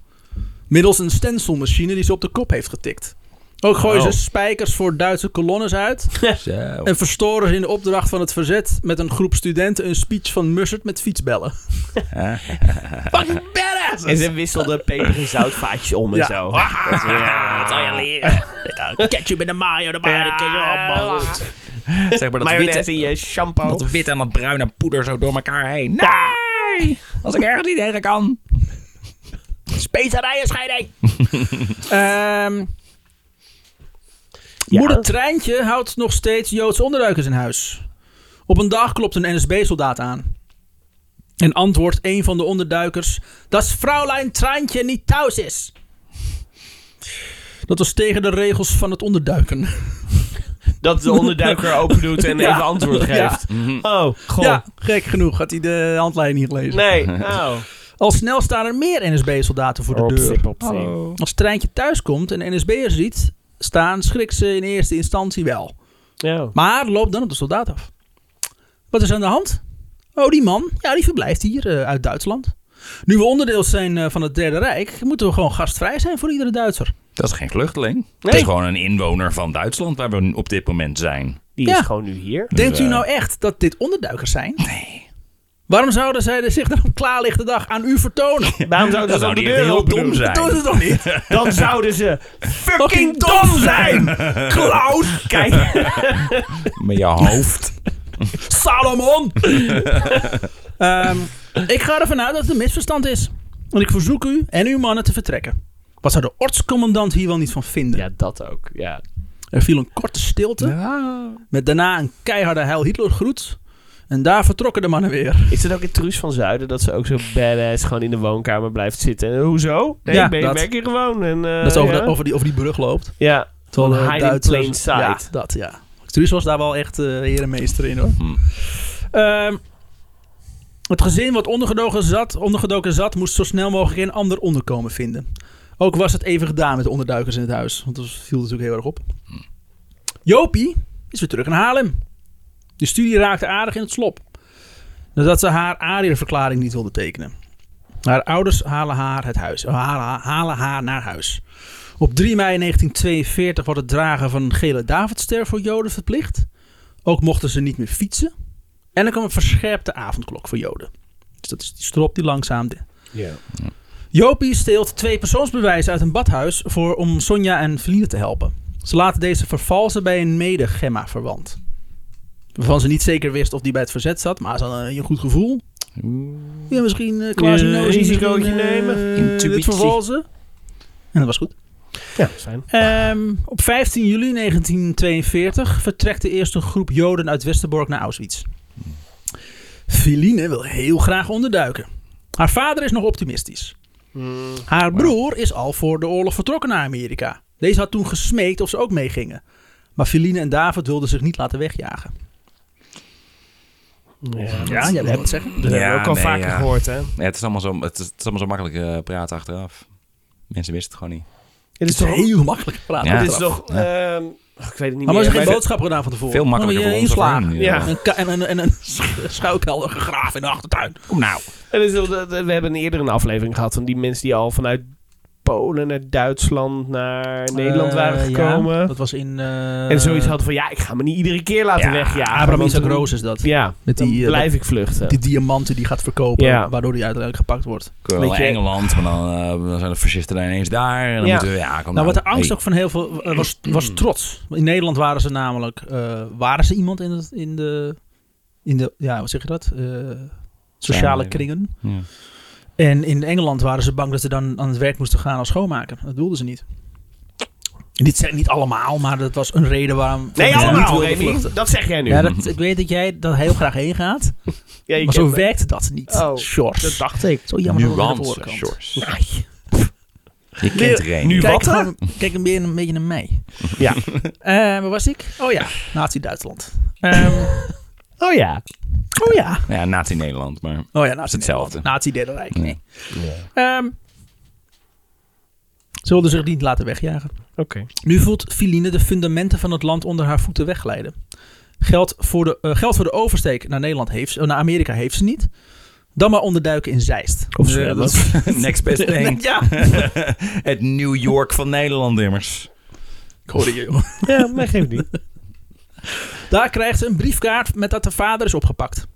Middels een stencilmachine die ze op de kop heeft getikt. Ook gooien
Oh.
ze spijkers voor Duitse kolonnes uit.
Zo.
En verstoren ze in de opdracht van het verzet met een groep studenten een speech van Mussert met fietsbellen.
En ze wisselden peper en zoutvaatjes om en
Ja. Ah.
zo. Dat is- Ja, wat zal je
Ah.
leren?
Ketchup in de mayo, de
Ja, dat ken je allemaal
Ah.
goed.
Zeg maar dat
Mayonaise in
witte,
je shampoo.
dat witte en dat bruine poeder zo door elkaar heen. Nee! Als ik ergens niet tegen kan.
Specerijen scheiding.
Ehm,
Ja.
Moeder Treintje houdt nog steeds Joodse onderduikers in huis. Op een dag klopt een NSB-soldaat aan. En antwoordt een van de onderduikers... dat vrouwlijn Treintje niet thuis is. Dat was tegen de regels van het onderduiken.
Dat de onderduiker open doet en
Ja.
even antwoord geeft. Oh, god.
Ja, gek genoeg had hij de handlijn niet gelezen.
Nee, nou.
Al snel staan er meer NSB-soldaten voor de deur. Oh. Als het treintje thuiskomt en NSB'ers ziet... staan schrik ze in eerste instantie wel.
Ja.
Maar loopt dan op de soldaat af. Wat is aan de hand? Oh, die man. Ja, die verblijft hier eh, uit Duitsland. Nu we onderdeel zijn eh, van het Derde Rijk, moeten we gewoon gastvrij zijn voor iedere Duitser.
Dat is geen vluchteling. Het is gewoon een inwoner van Duitsland waar we op dit moment zijn.
Die
Ja.
is gewoon nu hier.
Denkt
Dus,
u
eh,
nou echt dat dit onderduikers zijn? Nee. Waarom zouden zij er zich dan op klaarlichte dag aan u vertonen?
Waarom zouden ze dan
Dat zou
de
die
deur
heel
open
dom
doen?
Dat doen
zijn.
ze toch niet?
Dan zouden ze fucking
Fucking
dom zijn. Klaus. Kijk.
Met je hoofd.
Salomon! Ehm, ik ga ervan uit dat het een misverstand is. En ik verzoek u en uw mannen te vertrekken. Wat zou de ortscommandant hier wel niet van vinden?
Ja, dat ook. Ja.
Er viel een korte stilte. Met daarna een keiharde Heil Hitler groet. En daar vertrokken de mannen weer.
Is het ook in Truus van Zuiden dat ze ook zo badass gewoon in de woonkamer blijft zitten? En, hoezo? Nee,
Ja,
ik ben, ik
dat.
werk hier gewoon. En, eh,
dat ze over,
ja.
de- over, die, over die brug loopt.
Ja.
Terwijl de
Hide in
Duitsers-
plain sight.
Ja, dat ja. Truus was daar wel echt eh herenmeester in hoor.
Hmm.
Ehm, het gezin wat ondergedoken zat, ondergedoken zat, moest zo snel mogelijk een ander onderkomen vinden. Ook was het even gedaan met de onderduikers in het huis. Want dat viel natuurlijk heel erg op.
Hmm.
Jopie is weer terug in Haarlem. De studie raakte aardig in het slop. Nadat ze haar ARIA-verklaring niet wilde tekenen. Haar ouders halen haar, het huis, halen, halen haar naar huis. Op 3 mei 1942 wordt het dragen van een gele Davidster voor Joden verplicht. Ook mochten ze niet meer fietsen. En er kwam een verscherpte avondklok voor Joden. Dus dat is die strop die langzaam... de-
Ja.
Jopie steelt twee persoonsbewijzen uit een badhuis voor, om Sonja en Feline te helpen. Ze laten deze vervalsen bij een mede-Gemma-verwant. Waarvan ze niet zeker wist of die bij het verzet zat, maar ze had een, een goed gevoel. Ja, misschien eh Klaas
Ja,
Noos, misschien,
risicootje
eh,
nemen.
Dit
Intuïtie.
vervalsen. En dat was goed.
Ja, zijn.
Ehm, op 15 juli 1942 vertrekt de eerste groep Joden uit Westerbork naar Auschwitz. Feline wil heel graag onderduiken. Haar vader is nog optimistisch. Haar broer is al voor de oorlog vertrokken naar Amerika. Deze had toen gesmeekt of ze ook meegingen. Maar Feline en David wilden zich niet laten wegjagen.
Ja,
Ja, jij hebt het zeggen.
Dat hebben we ook al
nee,
vaker
ja.
gehoord, hè?
Ja, het, is allemaal zo, het, is, het is allemaal zo makkelijk eh, praten achteraf. Mensen wisten het gewoon niet.
Dit is
Het is
toch...
heel makkelijk praten.
Ja.
achteraf.
Dit is toch... ehm, ach, ik weet het niet
Maar was
meer.
er geen
maar-
boodschap gedaan van tevoren?
Veel makkelijker
Dan
voor
ben
ons.
je
dan voor
inslagen.
hen.
Oh. Ja.
En een ka- En een, en een schuilkelder gegraven in de achtertuin.
Kom nou.
En dus, dat- dat- we hebben eerder een aflevering gehad van die mensen die al vanuit Polen naar Duitsland naar Nederland waren
Eh, ja,
gekomen.
dat was in... eh,
en zoiets hadden van, ja, ik ga me niet iedere keer laten
Ja,
wegjagen.
Abraham
want
Isaac
dan-
Roos is dat.
Ja,
Met
dan
die, eh,
blijf ik vluchten.
Die diamanten die gaat verkopen,
Ja. Nou,
waardoor die uiteindelijk gepakt wordt.
Wel
Weet je-
eh, Engeland, maar dan, eh, dan zijn de fascisten daar ineens daar. En dan
Ja.
moeten we, ja,
Nou,
kom nou.
wat de angst
Hey.
ook van heel veel eh, was, was trots. In Nederland waren ze namelijk, eh, waren ze iemand in, het, in de, in de, ja, hoe zeg je dat? Eh, sociale
Samenleving.
kringen.
Ja.
En in Engeland waren ze bang dat ze dan aan het werk moesten gaan als schoonmaker. Dat wilden ze niet. En dit zijn niet allemaal, maar dat was een reden waarom.
nee,
waarom ze niet
allemaal,
wilden
Remy.
vluchten.
Dat zeg jij nu.
Ja, dat, ik weet dat jij daar heel graag heen gaat,
Ja, je
maar zo
kent me.
werkt dat niet.
Oh,
Sjors.
Dat dacht ik.
Zo jammer dat het aan de
Nuance,
voorkant.
Sjors.
Nee.
Je kent er een.
Nu
Kijk,
wat, hè?
gewoon- kijk een, beetje, een beetje naar mij.
Ja.
Eh, waar was ik? Oh ja, Nazi-Duitsland. Ehm,
Oh ja.
oh ja.
Ja, Nazi-Nederland, maar...
Oh ja, Nazi
hetzelfde.
Nazi-Derde Rijk, nee. Ehm, ze wilden zich niet laten wegjagen.
Oké.
Nu voelt Filine de fundamenten van het land onder haar voeten wegglijden. Geld voor de, eh, geld voor de oversteek naar, Nederland heeft ze, eh, naar Amerika heeft ze niet. Dan maar onderduiken in Zeist.
Of
Eh,
zwemmen.
dat is-
Next best thing.
Ja,
Het New York van Nederland immers.
Ik hoorde je, joh.
Ja, maar geeft niet.
Daar krijgt ze een briefkaart met dat de vader is opgepakt.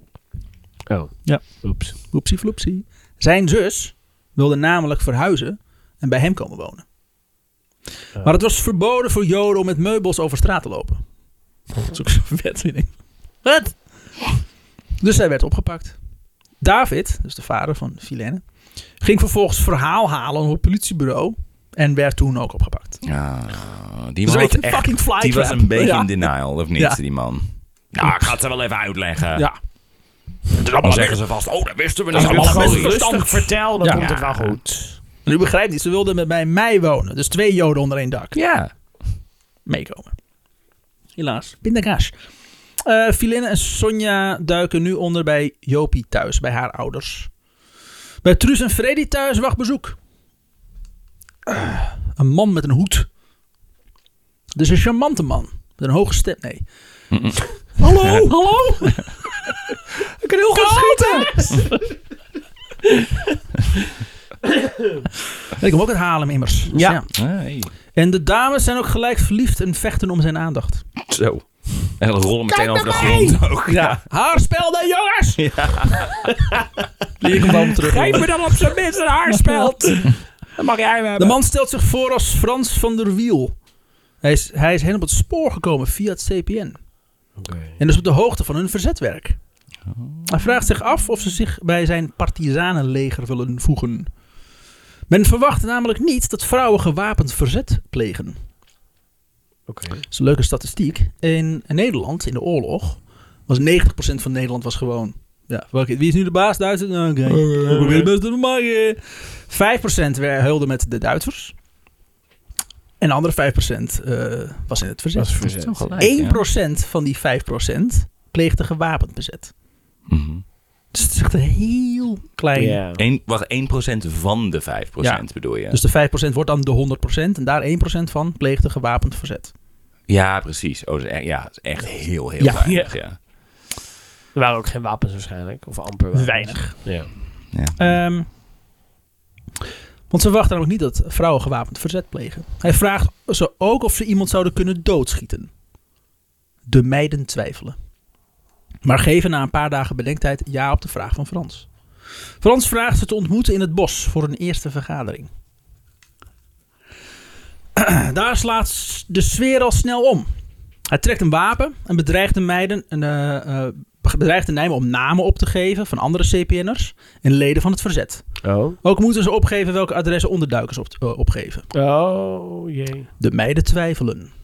Oh.
Ja.
Oeps.
Oepsie floepsie. Zijn zus wilde namelijk verhuizen en bij hem komen wonen.
Oh.
Maar het was verboden voor Joden om met meubels over straat te lopen.
Oh.
Dat is ook zo'n wet, weet ik. Wat? Dus hij werd opgepakt. David, dus de vader van Filene, ging vervolgens verhaal halen op het politiebureau en werd toen ook opgepakt.
Ja, die
Dus
man
weet
had
je, fucking
echt,
flytrap.
die was een beetje
Ja.
in denial, of niet,
Ja.
die man. Nou, ik ga het ze wel even uitleggen.
Ja.
Dan zeggen ze vast, oh, dat wisten we niet.
is
Dat is
allemaal
allemaal
best
goed.
verstandig.
vertel, dan
Ja.
komt het wel goed.
En u begrijpt niet, ze wilden met bij mij wonen. Dus twee Joden onder één dak.
Ja.
meekomen. Helaas. Pindakaas. Eh Filine en Sonja duiken nu onder bij Jopie thuis, bij haar ouders. Bij Truus en Freddy thuis wacht bezoek. Eh, een man met een hoed. Dus een charmante man. Met een hoge stem, nee. Hallo, hallo. Ik kan heel goed schieten. Ik kom ook uit Haarlem immers. Dus
Ja.
Hey.
en de dames zijn ook gelijk verliefd en vechten om zijn aandacht.
Zo. En dan rollen meteen over de grond ook. Ja.
Haarspel dan, jongens! Ja. Die komt allemaal terug. Geef me dan op zijn minst een haarspeld!
Dat mag jij
De man stelt zich voor als Frans van der Wiel. Hij is, hij is hen op het spoor gekomen via het CPN. En is op de hoogte van hun verzetwerk.
Oh.
Hij vraagt zich af of ze zich bij zijn partisanenleger willen voegen. Men verwacht namelijk niet dat vrouwen gewapend verzet plegen. Dat is een leuke statistiek. In Nederland, in de oorlog, was 90% van Nederland was gewoon... Ja, welke, wie is nu de baas? Duitsers? Nou, Oké,
Oh,
we proberen het best te maken. 5% weer hulde met de Duitsers. En de andere 5% eh, was in het verzet.
Dat is verzet.
1% van die 5% pleegde gewapend bezet.
Mhm.
Dus het is echt een heel klein...
Ja.
Eén, wacht, 1% van de 5% bedoel je?
Dus de 5% wordt dan de 100% en daar 1% van pleegde gewapend verzet.
ja, precies. Oh, dat is echt, ja, dat is echt heel, heel
Ja.
weinig. Ja.
Er waren ook geen wapens waarschijnlijk. Of amper wapens.
Weinig.
Ja.
Ehm, want ze wachten namelijk niet dat vrouwen gewapend verzet plegen. Hij vraagt ze ook of ze iemand zouden kunnen doodschieten. De meiden twijfelen. Maar geven na een paar dagen bedenktijd ja op de vraag van Frans. Frans vraagt ze te ontmoeten in het bos voor een eerste vergadering. Daar slaat de sfeer al snel om. Hij trekt een wapen en bedreigt de meiden en, eh, eh, bedreigt de meiden om namen op te geven van andere CPN'ers en leden van het verzet.
Oh.
Ook moeten ze opgeven welke adressen onderduikers op, eh, opgeven.
Oh, jee.
De meiden twijfelen.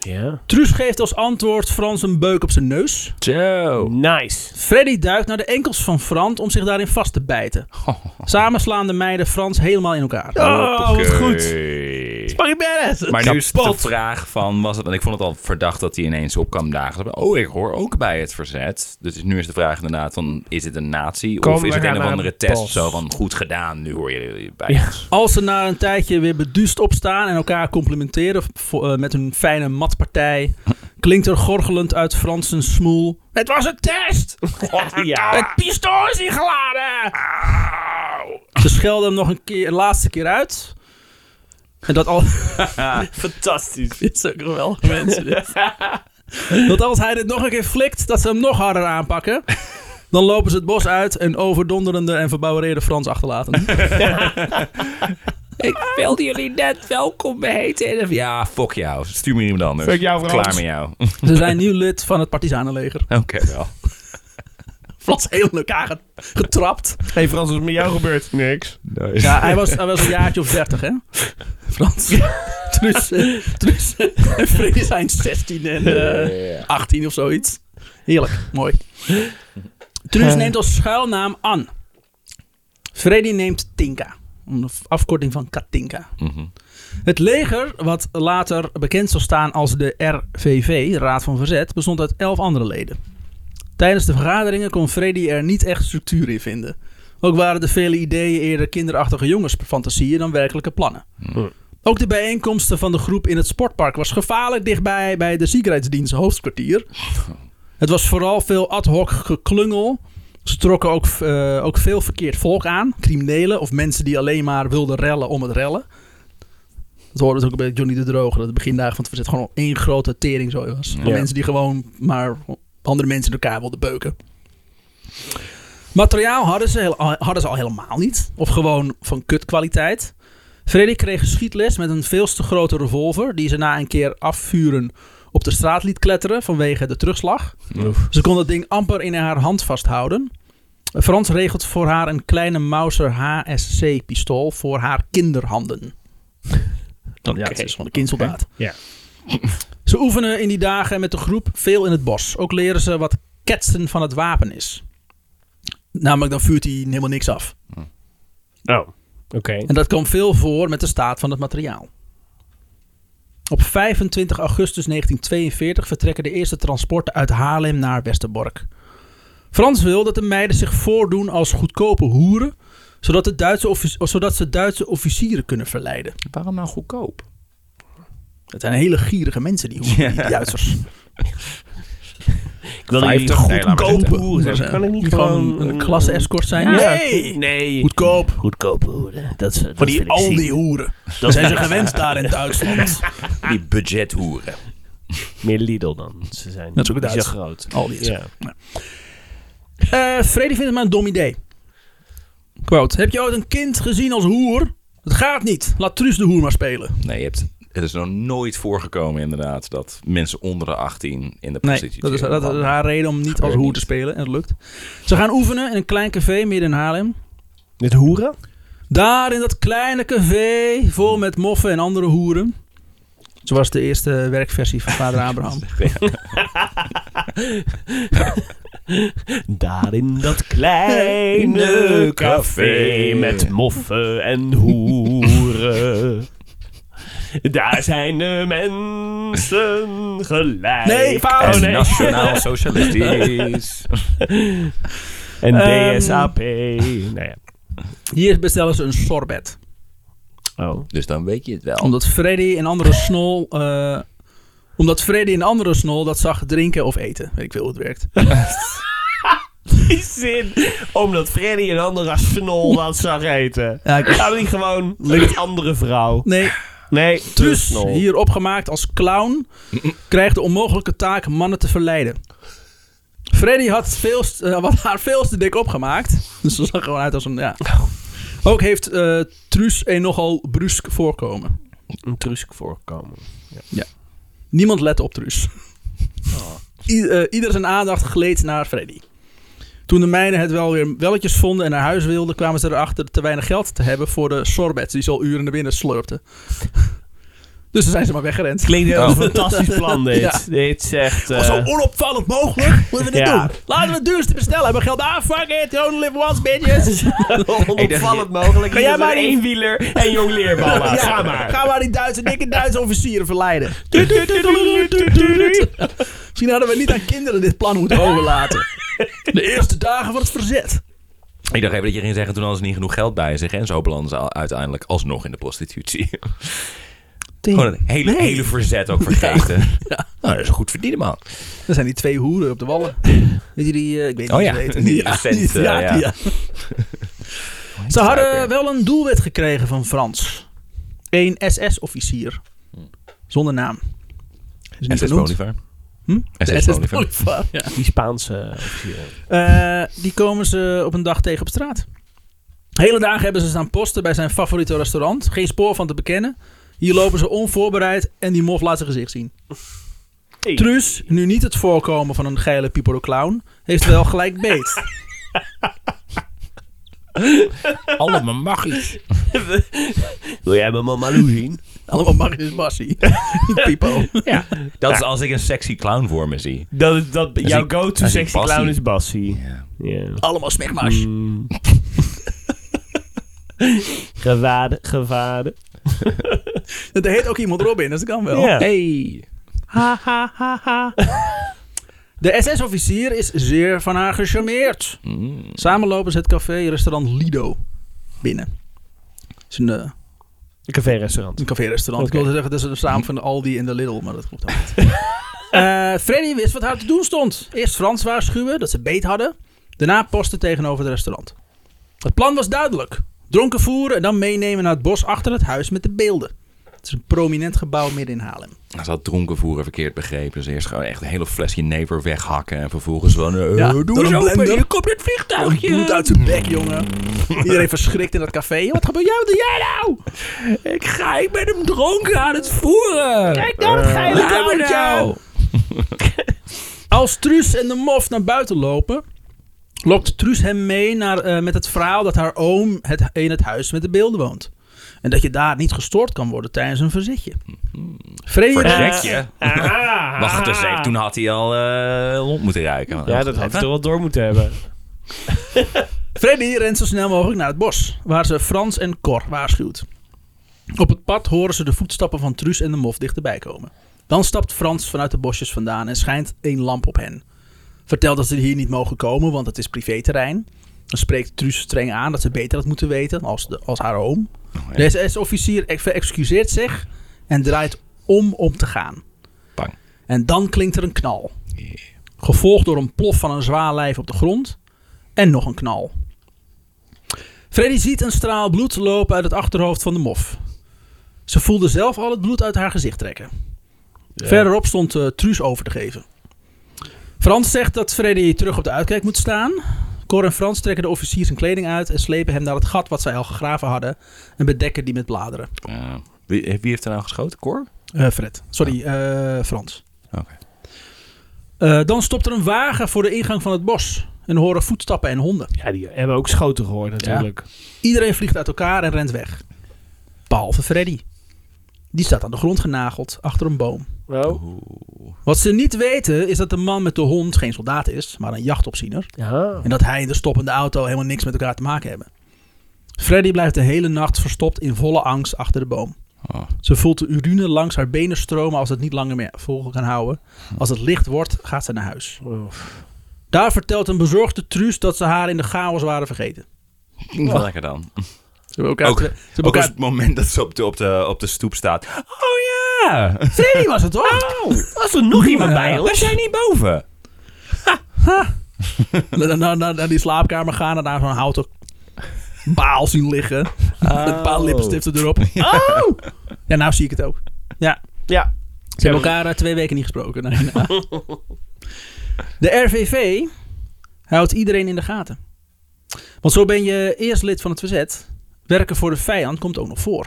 Ja.
Truus geeft als antwoord Frans een beuk op zijn neus.
Zo.
Nice.
Freddy duikt naar de enkels van Frans om zich daarin vast te bijten. Samen slaan de meiden Frans helemaal in elkaar.
Oh,
Hoppakee.
Mag ik
Maar nu is de vraag van, was het, want ik vond het al verdacht dat hij ineens op kwam dagen. Oh, ik hoor ook bij het verzet. Dus nu is de vraag inderdaad van, is het een nazi?
Kom,
of is
we
het
gaan
een of
naar
andere
het
test
bos.
zo van, goed gedaan, nu hoor je bij
Ja.
ons.
Als ze na een tijdje weer beduust opstaan en elkaar complimenteren vo- eh, met hun fijne matpartij, klinkt er gorgelend uit Frans een smoel. Het was een test!
Ja.
Het pistool is niet geladen! Ze schelden hem nog een keer, een laatste keer uit. En dat al.
Fantastisch.
Dit is ook geweldig, mensen. dit. dat als hij dit nog een keer flikt, dat ze hem nog harder aanpakken. Dan lopen ze het bos uit en overdonderende en verbouwereerde Frans achterlaten.
Ik wilde jullie net welkom heten. En- Ja, fuck jou. Stuur me iemand anders.
Fuck jou, Frans.
Klaar met jou.
Ze zijn nu lid van het partisanenleger.
Oké, wel.
Frans heel in elkaar get- getrapt.
Hey Frans, wat is met jou gebeurd? Niks.
Ja, hij was, hij was een jaartje of 30, hè? Frans. Truus, eh, Truus en Freddy zijn 16 en eh, 18 of zoiets. Heerlijk, mooi. Truus neemt als schuilnaam An. Freddy neemt Tinka. Een afkorting van Katinka.
Mhm.
Het leger, wat later bekend zal staan als de RVV, de Raad van Verzet, bestond uit elf andere leden. Tijdens de vergaderingen kon Freddy er niet echt structuur in vinden. Ook waren de vele ideeën eerder kinderachtige jongensfantasieën dan werkelijke plannen.
Hmm.
Ook de bijeenkomsten van de groep in het sportpark was gevaarlijk dichtbij bij de Ziekenheidsdienst hoofdkwartier. Het was vooral veel ad hoc geklungel. Ze trokken ook, eh, ook veel verkeerd volk aan, criminelen of mensen die alleen maar wilden rellen om het rellen. Dat hoorde dus ook bij Johnny de Droge. Dat de begindagen van het verzet gewoon één grote teringzooi was. Van
Ja.
mensen die gewoon maar andere mensen in elkaar wilden beuken. Materiaal hadden ze, heel- hadden ze al helemaal niet. Of gewoon van kutkwaliteit. Freddy kreeg schietles met een veel te grote revolver. Die ze na een keer afvuren op de straat liet kletteren vanwege de terugslag. Ze kon dat ding amper in haar hand vasthouden. Frans regelt voor haar een kleine Mauser HSC-pistool voor haar kinderhanden. Ja, het is van een kindsoldaat.
Ja.
Ze oefenen in die dagen met de groep veel in het bos. Ook leren ze wat ketsen van het wapen is. Namelijk dan vuurt hij helemaal niks af.
Oh, oké.
En dat kwam veel voor met de staat van het materiaal. Op 25 augustus 1942 vertrekken de eerste transporten uit Haarlem naar Westerbork. Frans wil dat de meiden zich voordoen als goedkope hoeren, zodat, de Duitse offici- of zodat ze Duitse officieren kunnen verleiden.
Waarom nou goedkoop?
Dat zijn hele gierige mensen, die, hoeren, die Duitsers.
Ik wilde jullie
Vijftig. Nee, laat maar
goedkope
zitten.
hoeren zeggen. Kan ik niet gewoon...
een klasse escort zijn?
Ja.
Nee!
Nee.
Goedkoop.
Goedkope hoeren. Dat, is- dat
Voor
vind
die
ik
al
ziek.
die hoeren. Dat zijn ze gewend daar in Duitsland.
Die budgethoeren.
Meer Lidl dan ze zijn.
Dat is ook
Die
Duits.
groot.
Al die
Ja.
Eh Freddy vindt het maar een dom idee. Quote. Heb je ooit een kind gezien als hoer? Het gaat niet. Laat Truus de hoer maar spelen.
Nee, je hebt, het is nog nooit voorgekomen inderdaad dat mensen onder de 18 in de
Nee,
positie
dat is, dat is haar reden om niet als
Gebeurt
hoer
niet.
te spelen. En het lukt. Ze gaan oefenen in een klein café midden in Haarlem.
Met hoeren?
Daar in dat kleine café, vol met moffen en andere hoeren. Zo was de eerste werkversie van vader Abraham.
Daar in dat kleine café met moffen en hoeren. Daar zijn de mensen gelijk.
Nee, fout.
Oh,
En
nee.
nationaal socialistisch.
En
Ehm.
DSAP. Nou ja.
Hier bestellen ze een sorbet.
Oh.
dus dan weet je het wel.
Omdat Freddy een andere snol. eh, omdat Freddy een andere snol dat zag drinken of eten. Weet ik veel hoe het werkt.
Die zin. Omdat Freddy een andere snol wat zag eten.
Ja, ik-
Gaan we niet gewoon met andere vrouw?
Nee,
Nee,
Truus,
snol.
hier opgemaakt als clown, krijgt de onmogelijke taak mannen te verleiden. Freddy had, veel, eh, had haar veel te dik opgemaakt. Dus ze zag gewoon uit als een. Ja. Ook heeft eh Truus een nogal brusk voorkomen.
Een trusk voorkomen.
Niemand lette op Truus. I- eh, ieder zijn aandacht gleed naar Freddy. Toen de meiden het wel weer welletjes vonden en naar huis wilden, kwamen ze erachter te weinig geld te hebben voor de sorbets die ze al uren naar binnen slurpten. dus toen zijn ze maar weggerend.
Klinkt
als
als
een
een fantastisch plan dit.
Ja.
Dit zegt...
Zo onopvallend mogelijk moeten we dit
Ja.
doen. Laten we het duurste bestellen. Hebben we geld aan? Fuck it. You only live once, bitches.
onopvallend mogelijk.
Hier
eh, Kan jij
is
maar
een
één wieler en jong leerballen.
Ja,
Ga maar.
Ga maar die Duitse, dikke Duitse officieren verleiden. Misschien hadden we niet aan kinderen dit plan moeten overlaten. De eerste dagen van het verzet.
Ik dacht even dat je ging zeggen, toen hadden ze niet genoeg geld bij zich. En zo belanden ze al- uiteindelijk alsnog in de prostitutie. Gewoon het hele, hele verzet ook vergeten. Nou, dat is een goed verdienen man.
Er zijn die twee hoeren op de wallen. Weet je die? eh, ik weet niet
Oh
hoe
ja,
ze heten.
die recente,
ja,
ja.
die, ja. Ze
ook weer?
hadden wel een doelwit gekregen van Frans. Eén SS-officier. Zonder naam. Is niet
SS
genoemd.
Bolivar.
Hm?
SS Bolivar.
Bolivar, ja.
Die Spaanse officier.
Eh, die komen ze op een dag tegen op straat. Hele dagen hebben ze staan posten bij zijn favoriete restaurant. Geen spoor van te bekennen. Hier lopen ze onvoorbereid en die mof laat zijn gezicht zien.
Hey.
Truus, nu niet het voorkomen van een geile Pipo de Clown, heeft wel gelijk beet.
Allemaal magisch.
Wil jij mijn mama Lou zien?
Allemaal Magnus Bassie. Pipo.
Ja. Dat is als ik een sexy clown voor me zie.
Dat, is- dat,
is
jouw
een-
go-to
dat is een
sexy
Bassie.
clown is Bassie.
Ja.
Ja.
Allemaal smegma's.
Mm. Gewaarde, gewaarde.
Er heet ook iemand Robin, dus dat kan wel.
Ja.
Hey.
Ha, ha, ha, ha.
De SS-officier is zeer van haar gecharmeerd.
Mm.
Samen lopen ze het café-restaurant Lido binnen. Het is een, eh,
Een café-restaurant.
een café-restaurant.
Oké.
Ik wilde zeggen, dat is een samen van de Aldi en de Lidl, maar dat klopt ook niet. Eh, Freddy wist wat haar te doen stond. Eerst Frans waarschuwen dat ze beet hadden. Daarna posten tegenover het restaurant. Het plan was duidelijk. Dronken voeren en dan meenemen naar het bos achter het huis met de beelden. Het is een prominent gebouw midden in Haarlem.
Hij had dronken voeren verkeerd begrepen. Dus eerst gewoon echt een hele flesje never weghakken. En vervolgens van, eh,
Ja,
doe
door
eens
een
open,
blender.
hier komt het
Bloed
vliegtuigje.
uit zijn bek, jongen. Iedereen verschrikt in dat café. Wat gebeurt jou? Doe jij nou?
Ik ga, ik ben hem dronken aan het voeren. Kijk
nou, wat
Eh,
geil.
nou. Als Truus en de mof naar buiten lopen, lokt Truus hem mee naar, eh, met het verhaal dat haar oom het, in het huis met de beelden woont. En dat je daar niet gestoord kan worden tijdens een verzitje. Vrede.
Verzetje?
Ah.
Wacht eens even, toen had hij al eh lont moeten ruiken.
Ja, dat had ik toch wel door moeten hebben.
Freddy rent zo snel mogelijk naar het bos, waar ze Frans en Cor waarschuwt. Op het pad horen ze de voetstappen van Truus en de mof dichterbij komen. Dan stapt Frans vanuit de bosjes vandaan en schijnt een lamp op hen. Vertelt dat ze hier niet mogen komen, want het is privéterrein. Dan spreekt Truus streng aan dat ze beter had moeten weten als, de, als haar oom.
ja.
De SS-officier ex- verexcuseert zich en draait om om te gaan.
Bang.
En dan klinkt er een knal. Gevolgd door een plof van een zwaar lijf op de grond. En nog een knal. Freddy ziet een straal bloed lopen uit het achterhoofd van de mof. Ze voelde zelf al het bloed uit haar gezicht trekken. Verderop stond eh, Truus over te geven. Frans zegt dat Freddy terug op de uitkijk moet staan. Cor en Frans trekken de officier zijn kleding uit en slepen hem naar het gat wat zij al gegraven hadden en bedekken die met bladeren.
Eh, wie, wie heeft er nou geschoten? Cor?
Eh, Fred, sorry, eh, Frans.
Oké.
Eh, dan stopt er een wagen voor de ingang van het bos en horen voetstappen en honden.
Ja, die hebben ook schoten gehoord natuurlijk.
Iedereen vliegt uit elkaar en rent weg. Behalve Freddy. Die staat aan de grond genageld achter een boom.
Wow.
Wat ze niet weten is dat de man met de hond geen soldaat is, maar een jachtopziener.
Ja.
En dat hij en de stoppende auto helemaal niks met elkaar te maken hebben. Freddy blijft de hele nacht verstopt in volle angst achter de boom.
Oh.
Ze voelt de urine langs haar benen stromen als het niet langer meer vol kan houden. Als het licht wordt, gaat ze naar huis. Daar vertelt een bezorgde Truus dat ze haar in de chaos waren vergeten.
Wel Lekker dan.
Ze hebben elkaar...
Ook-
ze hebben
Ook als
elkaar-
het moment dat ze op de, op de, op de stoep staat. Oh ja!
Freddy was het hoor!
Oh. Was er nog iemand bij
We
ons?
zijn niet boven.
naar, naar, naar, naar die slaapkamer gaan en daar zo'n houten baal zien liggen. Met een paar lippenstiften erop. Oh! Ja, nou zie ik het ook. Ja.
Ja.
Ze hebben elkaar eh, twee weken niet gesproken. Nee, nou. De RVV houdt iedereen in de gaten. Want zo ben je eerst lid van het verzet. Werken voor de vijand komt ook nog voor.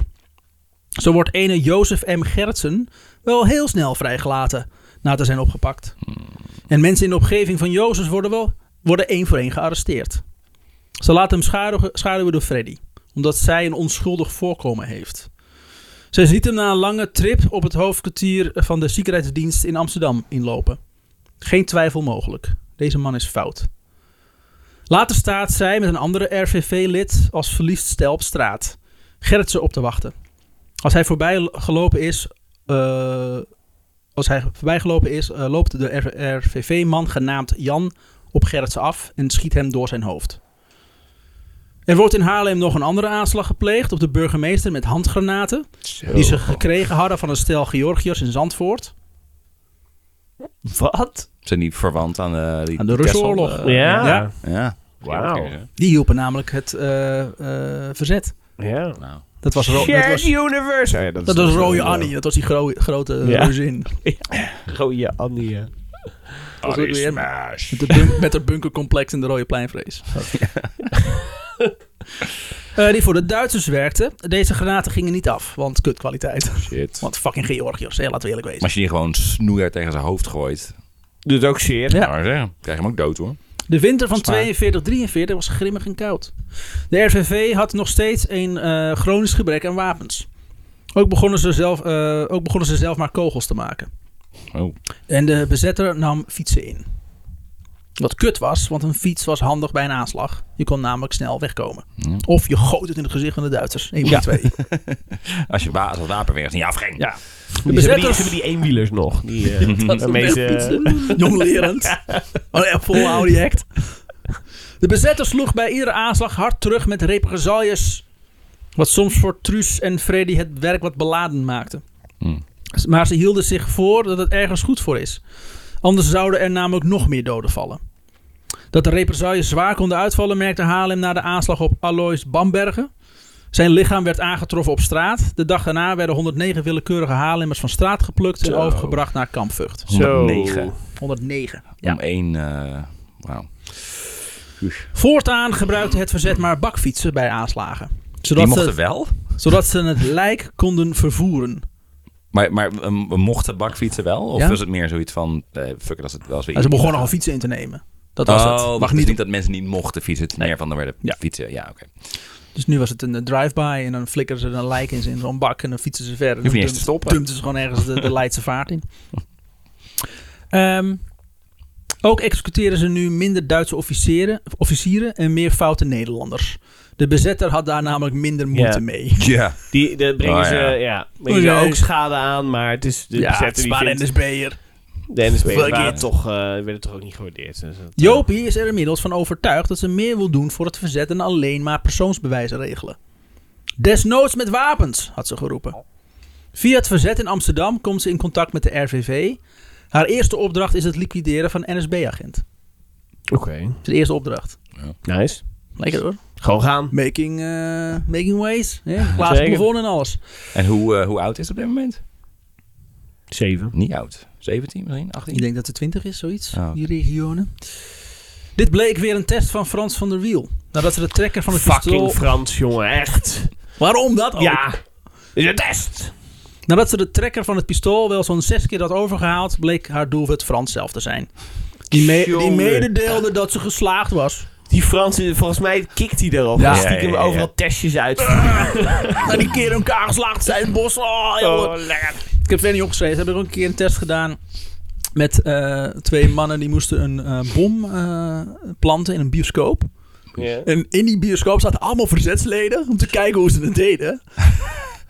Zo wordt ene Jozef M. Gertsen wel heel snel vrijgelaten na te zijn opgepakt. En mensen in de omgeving van Jozef worden wel worden één voor één gearresteerd. Ze laten hem schaduwen, schaduwen door Freddy, omdat zij een onschuldig voorkomen heeft. Zij ziet hem na een lange trip op het hoofdkwartier van de Ziekenheidsdienst in Amsterdam inlopen. Geen twijfel mogelijk. Deze man is fout. Later staat zij met een andere RVV-lid als verliefd stel op straat. Gerritsen op te wachten. Als hij voorbij lo- gelopen is, eh, als hij voorbij gelopen is eh, loopt de R- RVV-man genaamd Jan op Gerritsen af en schiet hem door zijn hoofd. Er wordt in Haarlem nog een andere aanslag gepleegd op de burgemeester met handgranaten. Die
Oh,
ze gekregen hadden van een stel Georgiërs in Zandvoort.
Wat?
Zijn die verwant aan, eh, die
Aan de
Kessel,
Russische
eh,
Ja.
ja.
Ja.
ja.
Wauw.
Die hielpen namelijk het eh, eh, verzet.
Nou.
Dat was, ro- dat
Shared
was,
Universe. Oh ja,
dat was
toch,
Rode
eh,
Annie. Dat was die gro- grote
Ja.
reuzin.
Rode Annie. ja.
Dat was ook weer- Met, de bun- met het bunkercomplex in de Rode Pleinvrees. Eh, die voor de Duitsers werkte. Deze granaten gingen niet af, want kutkwaliteit.
Shit.
Want fucking Georgiërs, hè, laten we eerlijk
Maar
wezen.
als je die gewoon snoeihard tegen zijn hoofd gooit,
Doet ook zeer.
Ja.
ja. zeggen, krijg je hem ook dood hoor.
De winter van 42-43
Zwaar.
was grimmig en koud. De RVV had nog steeds een eh, chronisch gebrek aan wapens. Ook begonnen, ze zelf, eh, ook begonnen ze zelf maar kogels te maken.
Oh.
En de bezetter nam fietsen in. Wat kut was, want een fiets was handig bij een aanslag. Je kon namelijk snel wegkomen.
Ja.
Of je goot het in het gezicht van de Duitsers. Eén van de twee.
Als je wa- als het wapen weer eens niet afging.
Ja.
Die ze hebben die, ze hebben die eenwielers nog. Die, eh
Mhm.
waarmee ze-
eh,
Jonglerend. Oh ja, volhouden die act. De bezetter sloeg bij iedere aanslag hard terug met represailles. Wat soms voor Truus en Freddy het werk wat beladen maakte.
Hmm.
Maar ze hielden zich voor dat het ergens goed voor is. Anders zouden er namelijk nog meer doden vallen. Dat de represailles zwaar konden uitvallen merkte Haarlem na de aanslag op Alois Bambergen. Zijn lichaam werd aangetroffen op straat. De dag daarna werden 109 willekeurige Haarlemmers van straat geplukt en
Zo.
overgebracht naar Kampvucht.
Zo.
109.
109.
Om één... eh, Wauw.
Voortaan gebruikte het verzet maar bakfietsen bij aanslagen.
Die
Zodat,
mochten
ze,
wel,
zodat ze het lijk konden vervoeren.
maar, maar eh, we mochten bakfietsen wel? Of
Ja?
was het meer zoiets van, eh, fuck it, als het wel
En ze begonnen al fietsen in te nemen. Dat was
Oh,
het.
het
Mag
is
niet
niet dat mensen niet mochten fietsen. Het is meer van, er werden
Ja.
fietsen. Ja, oké.
Dus nu was het een eh, drive-by en dan flikkeren ze een lijk in, ze in zo'n bak en dan fietsen ze verder.
Je hoeft niet
Dan
eens te stoppen.
Dumpten ze gewoon ergens de, de Leidse vaart in. Ehm, ook executeren ze nu minder Duitse officieren, officieren en meer foute Nederlanders. De bezetter had daar namelijk minder moeite
Ja.
mee.
Ja.
Die, daar brengen
Oh,
ze,
ja.
ja, brengen
Oh,
ze
ja.
ook schade aan, maar het is de
ja,
bezetter
het is
die
maar
vindt-
NSB'er.
De NSB
Fuck
waren
it.
toch, eh, werden toch ook niet gewaardeerd. Dus dat, eh,
Jopie is er inmiddels van overtuigd dat ze meer wil doen voor het verzet dan alleen maar persoonsbewijzen regelen. Desnoods met wapens, had ze geroepen. Via het verzet in Amsterdam komt ze in contact met de RVV. Haar eerste opdracht is het liquideren van NSB-agent. Dat
Oké.
is de eerste opdracht.
Nice.
Lekker hoor.
Gewoon gaan.
Making, eh, making ways. hè? Klaas
Zeker.
Bouvon en alles.
En hoe, eh, hoe oud is het op dit moment?
Zeven.
Niet oud. 17 misschien?
Ik
18?
denk dat het 20 is, zoiets.
Oh, oké.
Die regionen. Dit bleek weer een test van Frans van der Wiel. Nadat ze de trekker van het
Fucking
pistool...
Frans, jongen. Echt.
Waarom dat ook?
Ja. Oh. Is een test.
Nadat ze de trekker van het pistool wel zo'n zes keer had overgehaald, bleek haar doelwit Frans zelf te zijn. Die, me- Eh, die
Jongen.
mededeelde dat ze geslaagd was.
Die Fransen, volgens mij kikt hij erop.
Ja.
Ja, stiekem
Ja, ja, ja.
overal testjes uit.
En die keer in elkaar geslaagd zijn, bos. Oh, jongen.
Oh, lekker.
Ik heb het niet opgeschreven. Ze hebben ook een keer een test gedaan met eh, twee mannen die moesten een eh, bom eh, planten in een bioscoop.
Ja.
En in die bioscoop zaten allemaal verzetsleden om te kijken hoe ze het deden.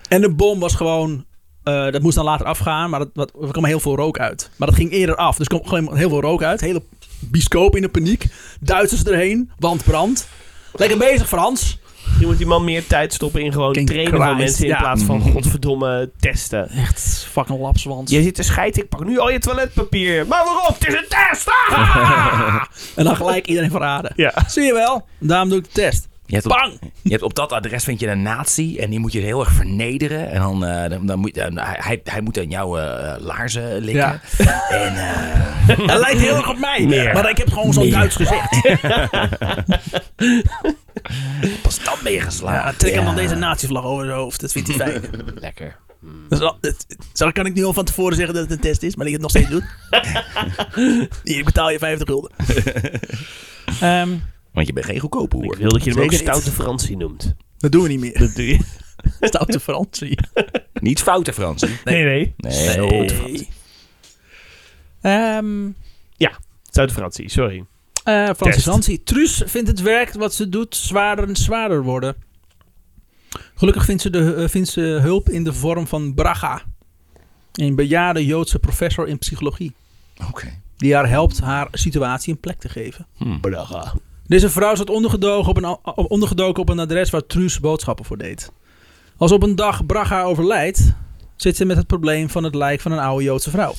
en de bom was gewoon. eh, dat moest dan later afgaan, maar dat, dat, er kwam heel veel rook uit. Maar dat ging eerder af. Dus er kwam gewoon heel veel rook uit. Hele bioscoop in de paniek. Duitsers erheen, want brand. Lekker bezig, Frans.
Je moet die man meer tijd stoppen in gewoon
King
trainen van
Christ,
mensen in
ja.
plaats van godverdomme testen.
Echt fucking lapswans.
Je zit te scheiden, ik pak nu al je toiletpapier. Maar waarop? Het is een test! Ah!
En dan gelijk iedereen verraden.
ja.
Zie je wel? Daarom doe ik de test.
Je hebt, op,
Bang!
je hebt op dat adres vind je een nazi en die moet je heel erg vernederen. En dan, eh, dan, dan moet, dan- hij- hij, hij moet aan jouw eh, laarzen likken. En, eh,
Hij lijkt heel erg op mij.
Meer.
Maar ik heb gewoon zo'n
Meer.
Duits gezicht.
pas dan ben je geslaagd.
Ja, trek hem
Ja.
dan deze natievlag over zijn hoofd. Dat vindt hij fijn.
Lekker.
Dus al- het- het- Zo kan ik nu al van tevoren zeggen dat het een test is, maar dat ik het nog steeds doe. Hier betaal je 50 gulden. Ehm,
Want je bent geen goedkope
Ik
hoer.
wil dat je hem ook
Zeker niet.
stoute Fransie noemt.
dat doen we niet meer.
Dat doe je.
Stoute Fransie.
Niet fouten, Frans. Nee,
Nee, nee.
nee.
Nee.
Frans.
Ehm,
Stoute Fransie, sorry.
eh, Fransie
Test.
Fransie. Truus vindt het werk wat ze doet zwaarder en zwaarder worden. Gelukkig vindt ze, de, eh, vindt ze hulp in de vorm van Braga. Een bejaarde Joodse professor in psychologie.
Oké.
Die haar helpt haar situatie een plek te geven.
Hm.
Braga.
Deze vrouw zat ondergedoken op, een, op- ondergedoken op een adres waar Truus boodschappen voor deed. Als op een dag Braga overlijdt, zit ze met het probleem van het lijk van een oude Joodse vrouw.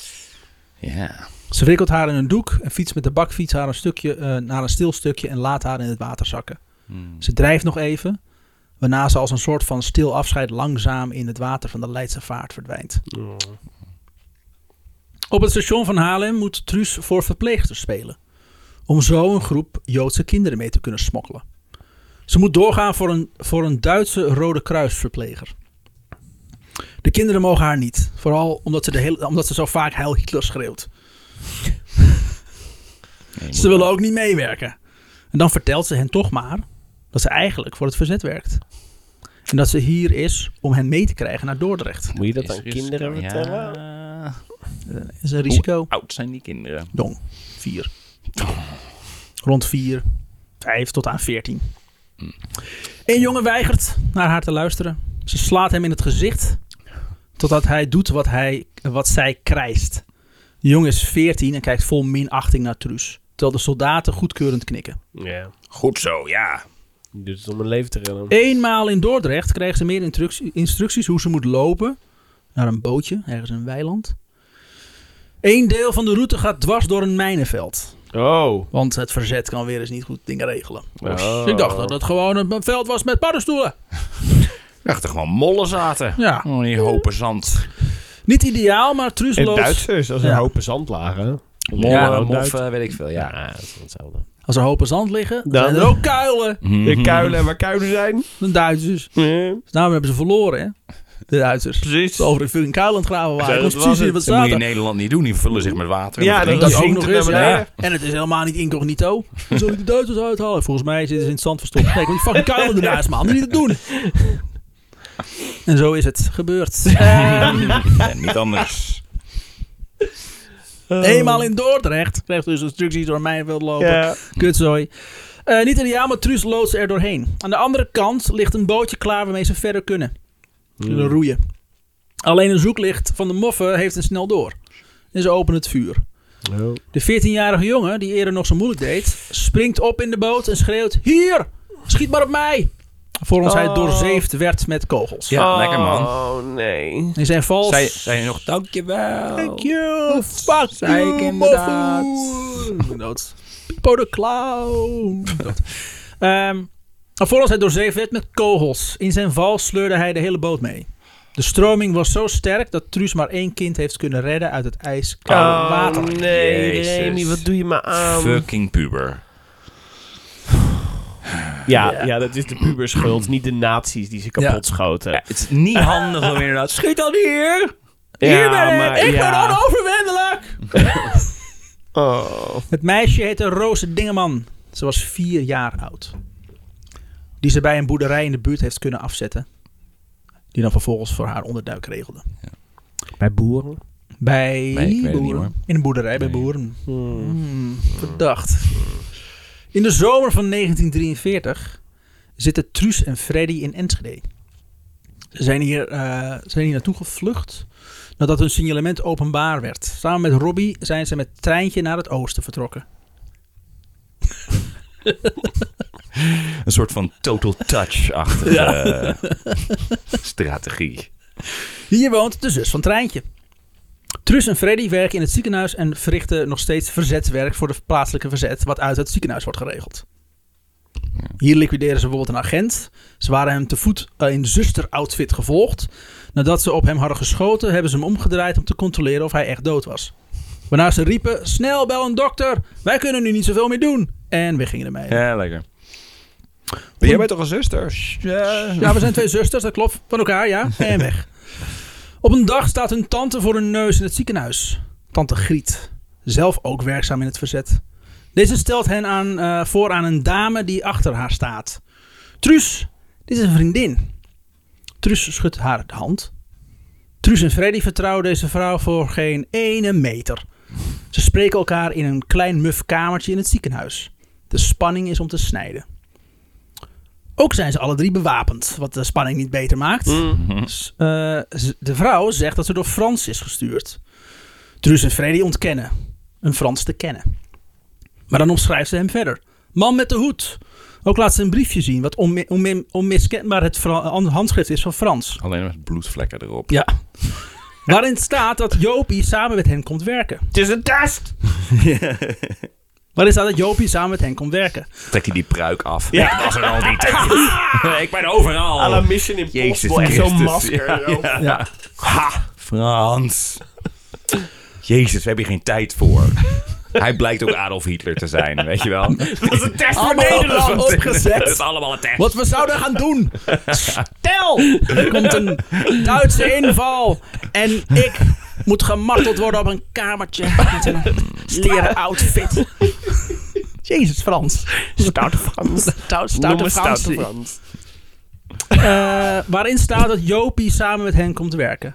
Ja.
Ze wikkelt haar in een doek en fietst met de bakfiets haar een stukje, eh, naar een stil stukje en laat haar in het water zakken.
Hm.
Ze drijft nog even, waarna ze als een soort van stil afscheid langzaam in het water van de Leidse vaart verdwijnt. Op het station van Haarlem moet Truus voor verpleegsters spelen. Om zo een groep Joodse kinderen mee te kunnen smokkelen. Ze moet doorgaan voor een, voor een Duitse Rode Kruisverpleger. De kinderen mogen haar niet. Vooral omdat ze, de hele, omdat ze zo vaak Heil Hitler schreeuwt.
Nee,
Ze willen ook niet meewerken. En dan vertelt ze hen toch maar dat ze eigenlijk voor het verzet werkt. En dat ze hier is om hen mee te krijgen naar Dordrecht.
Moet je dat
is
aan
risico.
kinderen vertellen?
Ja.
Dat is een risico.
Hoe oud zijn die kinderen?
Jong. Vier. Rond vier. Vijf tot aan veertien. Een jongen weigert naar haar te luisteren. Ze slaat hem in het gezicht. Totdat hij doet wat, hij, wat zij krijst. De jongen is veertien en kijkt vol minachting naar Truus. Terwijl de soldaten goedkeurend knikken.
Ja.
Goed zo, ja.
Je doet het om een leven te redden.
Eenmaal in Dordrecht kreeg ze meer instructie- instructies hoe ze moet lopen naar een bootje, ergens in een weiland. Eén deel van de route gaat dwars door een mijnenveld.
Oh.
Want het verzet kan weer eens niet goed dingen regelen.
Oh.
Dus ik dacht dat het gewoon een veld was met paddenstoelen.
Dacht er gewoon mollen zaten.
Ja.
Oh, die hopen zand.
Niet ideaal, maar truuseloos.
Duitsers, als er
Ja.
hopen zand lagen.
Mollen,
Ja,
moffen, eh,
Duits-
weet ik veel. Ja.
Ja, dat is hetzelfde.
Als er hopen zand liggen,
Dan-
zijn er ook kuilen.
Mhm.
De kuilen waar kuilen zijn.
De Duitsers. Dus daarom hebben ze verloren, hè? De Duitsers.
Precies.
Ze over een kuil aan het graven waren. Ik
Dat
was
was
precies in
het.
wat
Dat moet je in
zaten.
Nederland niet doen. Die vullen zich met water.
Ja,
drinken.
Dat is
Je
ook
zinkt
nog
het
eens,
naar
ja.
beneden.
En het is helemaal niet incognito. Hoe zullen die Duitsers uithalen? Volgens mij zitten ze in het zand verstopt. Kijk, want die fucking kuilen ernaast, man. Die niet te doen. En zo is het gebeurd. Ehm,
En niet anders.
eenmaal in Dordrecht kreeg dus instructies door mij wil lopen.
Ja.
Kutzooi. Eh, niet ideaal, maar Truus loodt ze er doorheen. Aan de andere kant ligt een bootje klaar waarmee ze verder kunnen. Ze Kunnen roeien. Alleen een zoeklicht van de moffen heeft hen snel door. En ze openen het vuur. De 14-jarige jongen, die eerder nog zo moeilijk deed, springt op in de boot en schreeuwt: Hier, schiet maar op mij! Voor ons hij
Oh.
doorzeefd werd met kogels.
Ja, lekker man.
Oh, nee.
In zijn vals.
Zei, zei je nog dankjewel.
Thank you, fuck
Zei ik
you,
inderdaad.
moffoen. Dood. Pipo de clown. Dood. Ehm, alvorens hij doorzeefd werd met kogels. In zijn val sleurde hij de hele boot mee. De stroming was zo sterk dat Truus maar één kind heeft kunnen redden uit het ijskoude
Oh,
water.
nee,
Jezus.
Remy, wat doe je me aan?
Oh. Fucking puber.
Ja, ja. dat is de puberschuld, niet de nazi's die ze kapot schoten.
Het is niet handig om inderdaad... Schiet dan hier!
Hier ben ik, ik ben
ja.
onoverwinnelijk!
Oh.
Het meisje heette Roze Dingeman. Ze was vier jaar oud. Die ze bij een boerderij in de buurt heeft kunnen afzetten. Die dan vervolgens voor haar onderduik regelde.
Bij boeren?
Bij
Nee, ik weet het niet,
boeren.
hoor.
in een boerderij bij
Nee.
boeren. Hmm, verdacht. In de zomer van 1943 zitten Truus en Freddy in Enschede. Ze zijn hier, eh, ze zijn hier naartoe gevlucht nadat hun signalement openbaar werd. Samen met Robbie zijn ze met treintje naar het oosten vertrokken.
Een soort van total touch-achtige eh, strategie.
Hier woont de zus van Treintje. Truus en Freddy werken in het ziekenhuis en verrichten nog steeds verzetswerk voor de plaatselijke verzet, wat uit het ziekenhuis wordt geregeld. Hier liquideren ze bijvoorbeeld een agent. Ze waren hem te voet eh, in zusteroutfit gevolgd. Nadat ze op hem hadden geschoten, hebben ze hem omgedraaid om te controleren of hij echt dood was. Waarna ze riepen: Snel, bel een dokter! Wij kunnen nu niet zoveel meer doen! En we gingen ermee.
Ja, lekker. Maar jij bent toch een zuster? Ja.
Ja, we zijn twee zusters, dat klopt. Van elkaar, ja. En weg. Op een dag staat hun tante voor hun neus in het ziekenhuis. Tante Griet. Zelf ook werkzaam in het verzet. Deze stelt hen aan, eh, voor aan een dame die achter haar staat. Truus, dit is een vriendin. Truus schudt haar de hand. Truus en Freddy vertrouwen deze vrouw voor geen ene meter. Ze spreken elkaar in een klein muf kamertje in het ziekenhuis. De spanning is om te snijden. Ook zijn ze alle drie bewapend, wat de spanning niet beter maakt.
Mm.
S- eh, z- de vrouw zegt dat ze door Frans is gestuurd. Truus en Freddy ontkennen een Frans te kennen. Maar dan omschrijft ze hem verder. Man met de hoed. Ook laat ze een briefje zien, wat onmi- onmi- onmiskenbaar het Fra- handschrift is van Frans.
Alleen met bloedvlekken erop.
Ja. Waarin staat dat Jopie samen met hen komt werken.
Het is een test!
Waarin staat dat Jopie samen met hen komt werken.
Trekt hij die pruik af. Ja. Ik was er al niet. ik ben overal.
A la Mission
Jezus
Impossible, echt zo'n
Christus.
masker.
Ja,
joh.
Ja.
Ha, Frans. Jezus, we hebben hier geen tijd voor. Hij blijkt ook Adolf Hitler te zijn, weet je wel.
Dat is een test voor
Allemaal
Nederland!
zo- opgezet.
Het is allemaal een test.
Wat we zouden gaan doen. Stel, er komt een Duitse inval. En ik moet gemarteld worden op een kamertje. Met een leren outfit. Jezus, Frans.
Stout Frans.
Stout,
Noem
stoute
me
Frans.
Stout Frans.
Eh, waarin staat dat Jopie samen met hen komt werken.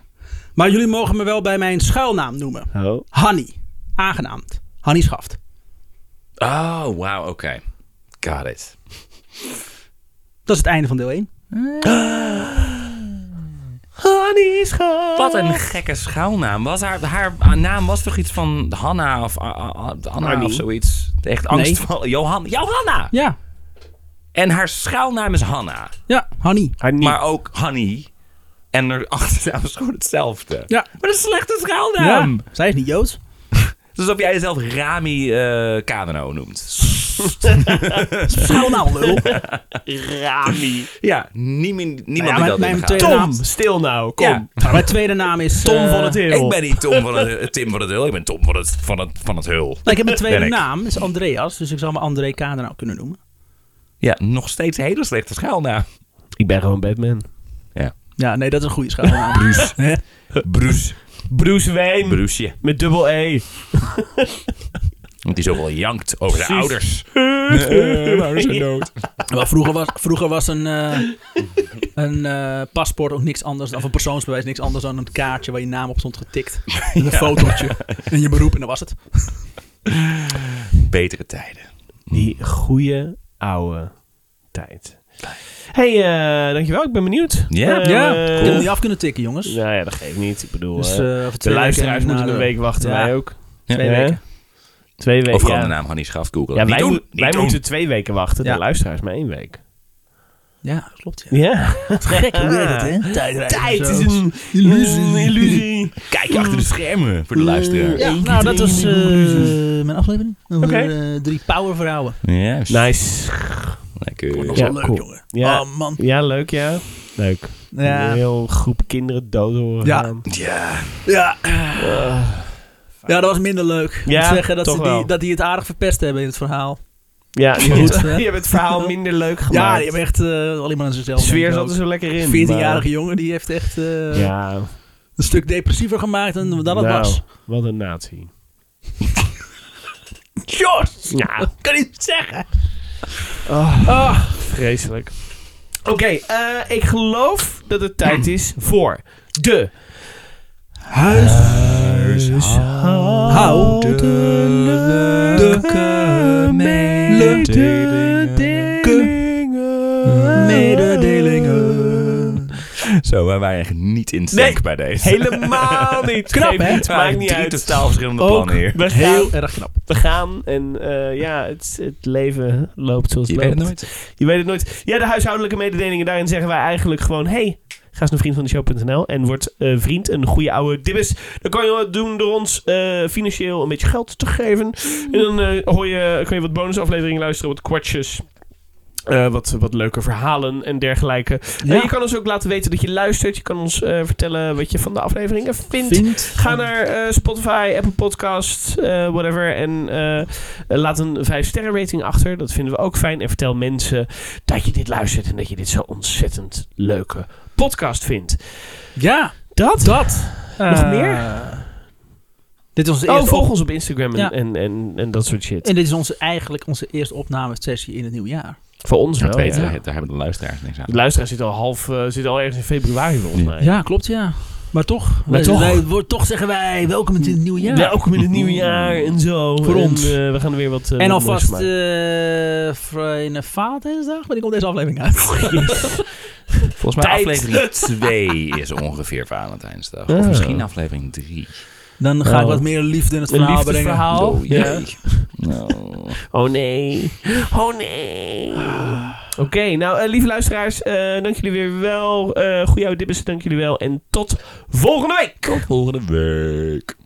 Maar jullie mogen me wel bij mijn schuilnaam noemen.
Oh.
Hanny. Aangenaamd. Hanny Schaft.
Oh, wauw, oké. Got it.
Dat is het einde van deel 1.
Honey schat.
Wat een gekke schuilnaam. Was haar, haar naam was toch iets van Hanna of ah, ah, Anna
Annie.
of zoiets? Echt angst van... Johan, Johanna!
Ja.
En haar schuilnaam is Hanna.
Ja, Hanny.
Maar ook Hanny. En haar achternaam is gewoon hetzelfde.
Ja.
Wat een slechte
Ja.
schuilnaam.
Zij is niet Joods.
Het is alsof jij jezelf Rami eh Kadeno noemt.
Schouw nou, lul.
Rami.
Ja, niemand, niemand
Nou ja,
die
mijn-
dat in de
mijn
gaten
tweede
Tom, stil nou, kom.
Ja.
Maar mijn tweede naam is...
Tom
eh,
van het
had.
Heel.
Ik ben niet Tom van het, eh, Tim van het Hul, ik ben Tom van het, van het, van het Hul.
Nou, ik heb mijn tweede
Ben ik.
naam, is Andreas. Dus ik zal me André Kader nou kunnen noemen.
Ja, nog steeds een hele slechte schaalnaam.
Ik ben gewoon Batman.
Ja.
Ja, nee, dat is een goede schouwnaam.
Bruce. Bruce.
Bruce Wayne.
Bruceje.
Met dubbel E.
Want die zoveel jankt over de
Precies.
ouders.
Eh, Wel, nou? vroeger was, vroeger was een, eh, een eh, paspoort ook niks anders, of een persoonsbewijs niks anders dan een kaartje waar je naam op stond getikt. En een fotootje en je beroep en dat was het.
Betere tijden.
Die goede oude tijd. Hey, eh, dankjewel. Ik ben benieuwd.
Ja.
Eh,
ja, ik heb hem niet af kunnen tikken, jongens.
Nou ja, dat geeft niet. Ik bedoel,
Dus,
eh,
eh, over
de
twee
luisteraars
weken
moeten een
na de-
week wachten.
Ja.
Wij ook.
Twee
Ja.
weken.
Twee weken.
Of gewoon
ja.
de naam Hannie Schaaf googlen.
Ja,
Niet
wij,
doen,
mo-
niet
wij
doen.
moeten twee weken wachten.
Ja.
De luisteraars maar één week.
Ja, dat klopt. Ja.
Ja.
Gek, hoe werkt het, hè? Tijdrijden.
Tijd
en
is
zo.
een
illusie.
een illusie.
Kijk achter de schermen voor de luisteraar.
Ja, nou, dat was eh, mijn aflevering. Over
Oké.
eh, drie powervrouwen.
Juist.
Nice.
Lekker.
Ja,
Ja,
leuk,
cool.
jongen.
Ja.
Oh, man.
Ja, leuk ja. Leuk.
Ja.
Een heel groep kinderen dood horen
Ja.
gaan.
Ja.
Ja. ja, dat was minder leuk. Ik
Ja,
moet zeggen dat,
toch
ze die,
wel.
dat die het aardig verpest hebben in het verhaal.
Ja, die,
Maar goed,
hebben-
hè?
die hebben het verhaal minder leuk
Ja,
gemaakt.
die hebben echt eh, alleen maar aan zichzelf.
de sfeer
denken
zat
ook.
er zo lekker in.
14-jarige jongen die heeft echt
maar-
eh,
Ja,
een stuk depressiever gemaakt dan, dan het
nou,
was.
wat een nazi.
Jos!
Ja, Ah.
Kan niet zeggen.
vreselijk. Oké, eh, ik geloof dat het tijd is voor de...
Huishoudelijke mededelingen.
Zo, wij waren echt niet in sync
Nee.
bij deze.
Helemaal niet.
Knap,
Geeft
hè?
niet, Maakt
Het waren
niet
drie
uit.
totaal verschillende
Ook
plannen hier.
We gaan,
Heel erg knap.
we gaan en eh, ja, het, het leven loopt zoals
Je
het
weet
loopt.
het nooit.
Je weet het nooit. Ja, de huishoudelijke mededelingen. Daarin zeggen wij eigenlijk gewoon... Hey, ga eens naar vriendvandeshow.nl en word eh, vriend. Een goede oude dibbes. Dan kan je dat doen door ons eh, financieel een beetje geld te geven. En dan eh, hoor je, kun je wat bonusafleveringen luisteren. Wat kwartjes. eh, wat, wat leuke verhalen en dergelijke.
Ja.
En je kan ons ook laten weten dat je luistert. Je kan ons eh, vertellen wat je van de afleveringen vindt. Ga naar eh, Spotify, Apple Podcasts, eh, whatever. En eh, eh, laat een 5-sterren rating achter. Dat vinden we ook fijn. En vertel mensen dat je dit luistert en dat je dit zo ontzettend leuke podcast vindt.
Ja,
Dat?
dat.
Nog
Eh,
meer?
Dit is onze
Oh,
eerste
volg
op-
ons op Instagram en,
Ja.
en, en, en dat soort shit.
En dit is onze, eigenlijk onze eerste opnamesessie in het nieuwe jaar.
Voor ons
Dat
wel,
weten
ja.
we, daar hebben de luisteraars niks aan.
De luisteraar zit al, half, eh, zit al ergens in februari volgens mij.
Ja, klopt, ja. Maar toch,
Maar
wij-
toch.
wij- wo- toch zeggen wij welkom in het nieuwe jaar.
Welkom in het nieuwe jaar en zo.
Voor
En,
ons.
eh, we gaan er weer wat. eh,
En
wat moois
alvast
maken.
eh Vrije Vadersdag, wanneer komt deze aflevering uit?
Volgens mij
Tijd.
aflevering 2 is ongeveer Valentijnsdag. Of
Oh.
misschien aflevering 3.
Dan ga ik
Oh.
wat meer liefde in het
Een
verhaal brengen.
liefdesverhaal.
Oh,
Ja.
jee. Nou.
Oh nee. Oh nee. Oké, nou eh, lieve luisteraars, eh, dank jullie weer wel. Eh goeie oude dibbes, dank jullie wel. En tot volgende week.
Tot volgende week.